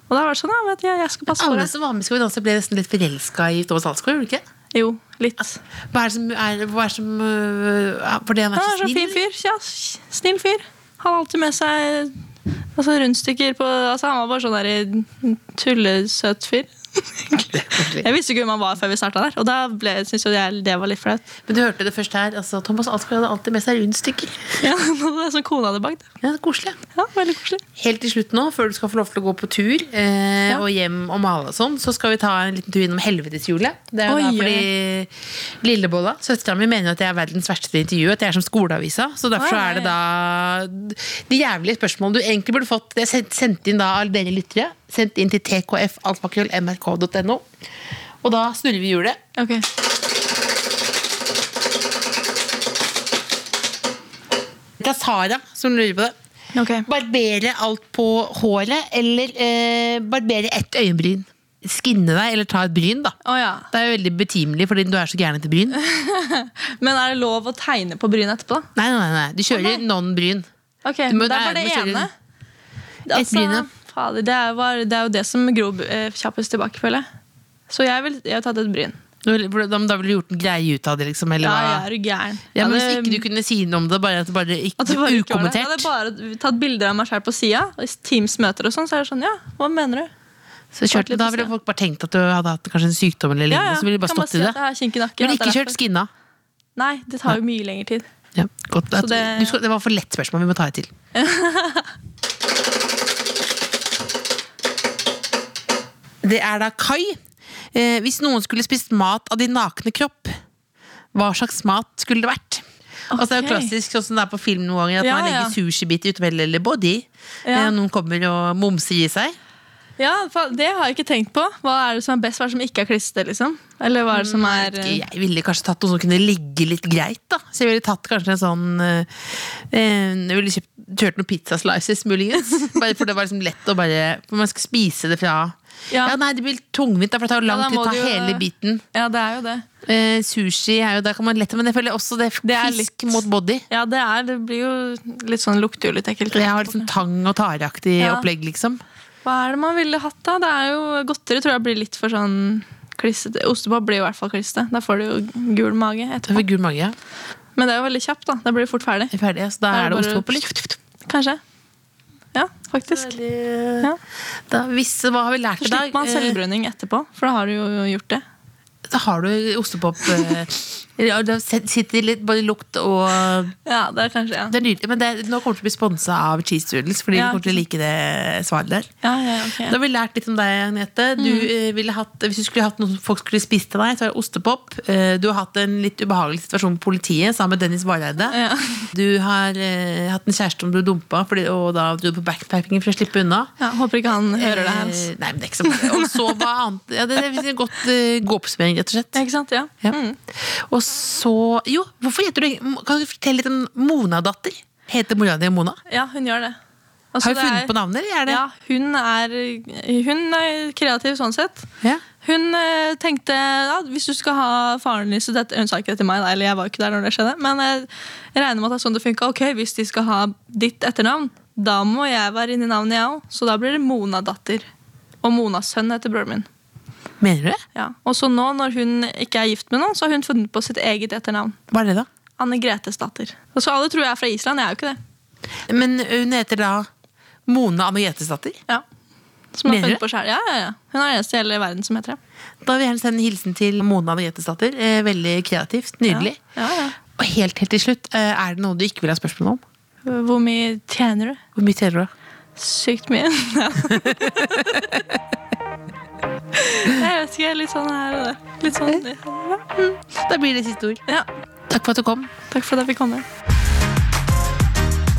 [SPEAKER 4] Og da var det sånn, ja, vet du, jeg, jeg skal passe på
[SPEAKER 3] Alle
[SPEAKER 4] deg.
[SPEAKER 3] som var med i Skal vi danse, ble nesten litt forelska i Thomas Alsgaard, gjorde de ikke?
[SPEAKER 4] Jo, litt.
[SPEAKER 3] Hva er det som, er, hva er det som øh, Fordi han
[SPEAKER 4] Han
[SPEAKER 3] er
[SPEAKER 4] er
[SPEAKER 3] så
[SPEAKER 4] så fin
[SPEAKER 3] snill?
[SPEAKER 4] fyr. Ja, snill fyr. Han har alltid med seg altså, rundstykker på altså, Han var bare sånn der tullesøt fyr. Jeg visste ikke hvem han var før vi starta der, og da ble- syntes jo jeg det var litt flaut.
[SPEAKER 3] Men du hørte det først her. Altså, Thomas Alsgaard hadde alltid med seg rundstykker.
[SPEAKER 4] Ja, det er sånn kona hadde bakt.
[SPEAKER 3] Ja, det er koselig.
[SPEAKER 4] Ja, veldig koselig.
[SPEAKER 3] Helt til slutt nå, før du skal få lov til å gå på tur eh,
[SPEAKER 4] Ja.
[SPEAKER 3] og hjem og male og sånn, så skal vi ta en liten tur innom helveteshjulet. Det er jo da
[SPEAKER 4] Oi,
[SPEAKER 3] fordi Lillebolla, søstera mi, mener at jeg er verdens verste til intervju, at jeg er som skoleavisa. Så derfor så
[SPEAKER 4] Oi.
[SPEAKER 3] er det da de jævlige spørsmålene du egentlig burde fått, det er sendt- sendt inn da av dere lyttere. Sendt inn til tkfalfakrøllmrk.no. Og da snurrer vi hjulet.
[SPEAKER 4] Ok.
[SPEAKER 3] Det er Sara som lurer på det. Barbere alt på håret, eller eh, barbere ett øyenbryn. Skinne deg, eller ta et bryn, da.
[SPEAKER 4] Å ja.
[SPEAKER 3] Det er jo veldig betimelig, fordi du er så gæren etter bryn. Nei,
[SPEAKER 4] Men er det lov å tegne på brynet etterpå, da?
[SPEAKER 3] nei, nei, nei. Du
[SPEAKER 4] Å,
[SPEAKER 3] kjører
[SPEAKER 4] nei.
[SPEAKER 3] non-bryn.
[SPEAKER 4] Ok,
[SPEAKER 3] Du må-
[SPEAKER 4] Det
[SPEAKER 3] nei,
[SPEAKER 4] er bare
[SPEAKER 3] du
[SPEAKER 4] det
[SPEAKER 3] må kjøre
[SPEAKER 4] ene. Altså,
[SPEAKER 3] bryne.
[SPEAKER 4] fader, det, er bare, det er jo det som gror eh, kjappest tilbake, føler jeg. Så jeg vil- jeg har tatt et bryn.
[SPEAKER 3] Du vil- for Da da ville du gjort en greie ut av det, liksom. Eller
[SPEAKER 4] Ja,
[SPEAKER 3] hva?
[SPEAKER 4] jeg er jo gæren.
[SPEAKER 3] Ja, men
[SPEAKER 4] Jeg
[SPEAKER 3] Hvis
[SPEAKER 4] hadde-
[SPEAKER 3] ikke du kunne si noe om det, bare at det bare ikke,
[SPEAKER 4] at det bare ikke var det. Jeg
[SPEAKER 3] ukommentert,
[SPEAKER 4] hadde bare tatt bilder av meg selv på sida. og I Teams-møter og sånn, så er det sånn Ja, hva mener du?
[SPEAKER 3] så
[SPEAKER 4] vært
[SPEAKER 3] kjørte,
[SPEAKER 4] litt
[SPEAKER 3] da
[SPEAKER 4] på
[SPEAKER 3] ville
[SPEAKER 4] siden.
[SPEAKER 3] folk bare tenkt at du hadde hatt kanskje en sykdom eller lignende,
[SPEAKER 4] Ja, ja.
[SPEAKER 3] så ville de bare
[SPEAKER 4] Kan bare
[SPEAKER 3] stått i
[SPEAKER 4] si
[SPEAKER 3] det.
[SPEAKER 4] at det er kink i nakken,
[SPEAKER 3] Men
[SPEAKER 4] at det er
[SPEAKER 3] ikke kjørt
[SPEAKER 4] derfor.
[SPEAKER 3] skinna.
[SPEAKER 4] Nei, det tar jo mye lengre tid.
[SPEAKER 3] Ja, godt. At,
[SPEAKER 4] det-
[SPEAKER 3] du skal, det var for lett spørsmål, vi må ta et til. det er da Kai. Eh, hvis noen skulle spist mat av din nakne kropp, hva slags mat skulle det vært? Altså, det er jo
[SPEAKER 4] Ok.
[SPEAKER 3] klassisk sånn som det er på film noen ganger, at
[SPEAKER 4] Ja,
[SPEAKER 3] man legger
[SPEAKER 4] ja.
[SPEAKER 3] sushibiter utover hele body.
[SPEAKER 4] Ja.
[SPEAKER 3] Eh, noen kommer og momser i seg.
[SPEAKER 4] Ja, fa- Det har jeg ikke tenkt på. Hva er det som er best? Hva er det som ikke er klister? liksom? Eller hva er det som er eh,
[SPEAKER 3] Mm, Jeg ville kanskje tatt noe som kunne ligge litt greit. da Så jeg ville tatt kanskje en sånn eh, eh, Jeg ville kjøpt, kjørt noen pizzaslices, muligens. Bare For det var liksom lett å bare For man skal spise det fra ja.
[SPEAKER 4] Ja.
[SPEAKER 3] Nei, det blir tungvint, da, for det tar jo lang
[SPEAKER 4] da
[SPEAKER 3] tid
[SPEAKER 4] må
[SPEAKER 3] å ta
[SPEAKER 4] du jo-
[SPEAKER 3] hele biten.
[SPEAKER 4] Ja, det er jo det.
[SPEAKER 3] Eh, sushi er jo der kan man lette, men jeg føler også det er fisk
[SPEAKER 4] Det er litt-
[SPEAKER 3] mot body.
[SPEAKER 4] Ja, det er, det blir jo litt sånn lukter jo litt ekkelt.
[SPEAKER 3] Jeg har liksom tang og tareaktig
[SPEAKER 4] Ja.
[SPEAKER 3] opplegg, liksom.
[SPEAKER 4] Hva er det man ville hatt da? Det er jo Godteri tror jeg blir litt for sånn klissete. Ostepop blir jo i hvert fall klissete. Da får du jo gul mage
[SPEAKER 3] Det
[SPEAKER 4] etterpå.
[SPEAKER 3] var gul mage. ja.
[SPEAKER 4] Men det er jo veldig kjapt, da. Da blir det fort ferdig.
[SPEAKER 3] Vi er ferdige, så da
[SPEAKER 4] Da er
[SPEAKER 3] er det
[SPEAKER 4] det bare-
[SPEAKER 3] ostepop og litt.
[SPEAKER 4] Kanskje. Ja, faktisk.
[SPEAKER 3] Ja. Da, hvis, hva har vi lært
[SPEAKER 4] Så
[SPEAKER 3] i dag?
[SPEAKER 4] slipper man
[SPEAKER 3] Eh,
[SPEAKER 4] selvbruning etterpå, for da har du jo gjort det.
[SPEAKER 3] Så har du ostepop eh, ja, Det sitter litt både lukt og
[SPEAKER 4] Ja, det er kanskje ja.
[SPEAKER 3] Det er nydelig, men det, nå kommer du til å bli sponsa av Cheese Doodles. Fordi
[SPEAKER 4] Ja,
[SPEAKER 3] vi kommer til å like det svaret der
[SPEAKER 4] Ja, ja, ok,
[SPEAKER 3] Da
[SPEAKER 4] ja. Mm.
[SPEAKER 3] har vi lært litt om deg, Anette. Du, eh, ville hatt, hvis du skulle hatt noe som folk skulle spist til deg, så er det ostepop. Eh, du har hatt en litt ubehagelig situasjon med politiet sammen med Dennis Vareide.
[SPEAKER 4] Ja.
[SPEAKER 3] Du har eh, hatt en kjæreste som du dumpa, fordi, og da dro du på backpacking for å slippe unna.
[SPEAKER 4] Ja, håper ikke han hører det her. altså.
[SPEAKER 3] Eh, Nei, men det er ikke så bra. Og så hva annet ja, Det det er en godt eh, god oppsummering, rett og slett.
[SPEAKER 4] Ja, Ikke sant? Ja.
[SPEAKER 3] Ja.
[SPEAKER 4] Mm.
[SPEAKER 3] Og så Jo, hvorfor heter du Kan du fortelle litt om Mona-datter? Heter mora di Mona?
[SPEAKER 4] ja, hun gjør det. Altså,
[SPEAKER 3] Har du
[SPEAKER 4] det
[SPEAKER 3] funnet
[SPEAKER 4] er-
[SPEAKER 3] på navnet, eller er det
[SPEAKER 4] Ja, hun er, hun er kreativ sånn sett.
[SPEAKER 3] Ja.
[SPEAKER 4] Hun eh, tenkte ja, hvis du skal ha faren din så dette- Hun sa ikke det til meg, da, eller jeg var ikke der når det skjedde. Men eh, jeg regner med at det er sånn det funka. Ok, hvis de skal ha ditt etternavn, da må jeg være inni navnet, jeg òg. Så da blir det Mona-datter. Og Monas sønn heter broren min.
[SPEAKER 3] Mener du det?
[SPEAKER 4] Ja. Og så nå, når hun ikke er gift med noen, så har hun funnet på sitt eget etternavn.
[SPEAKER 3] Hva er det, da?
[SPEAKER 4] Anne Gretes datter. Og så alle tror jeg er fra Island, jeg er jo ikke det.
[SPEAKER 3] Men hun heter da Mona Anne Gjetesdatter.
[SPEAKER 4] Ja. Som har
[SPEAKER 3] Mener
[SPEAKER 4] funnet
[SPEAKER 3] du?
[SPEAKER 4] på selv. Ja, ja, ja. Hun er den eneste i hele verden som heter det.
[SPEAKER 3] Da vil jeg gjerne sende en hilsen til Mona Anne Gjetesdatter. Eh, veldig kreativt. Nydelig.
[SPEAKER 4] Ja, ja, ja.
[SPEAKER 3] Og helt, helt til slutt, eh, er det noe du ikke vil ha spørsmål om?
[SPEAKER 4] Hvor mye tjener du?
[SPEAKER 3] Hvor mye tjener du? da?
[SPEAKER 4] Sykt mye. Ja. jeg vet ikke. Litt sånn her og der. Litt sånn ja.
[SPEAKER 3] Da blir det siste ord.
[SPEAKER 4] ja.
[SPEAKER 3] Takk for at du kom.
[SPEAKER 4] Takk for at jeg fikk komme.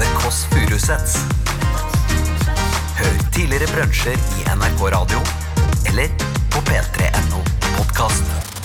[SPEAKER 2] The Kåss Furuseths. Hør tidligere brunsjer i NRK Radio eller på p3.no podkast.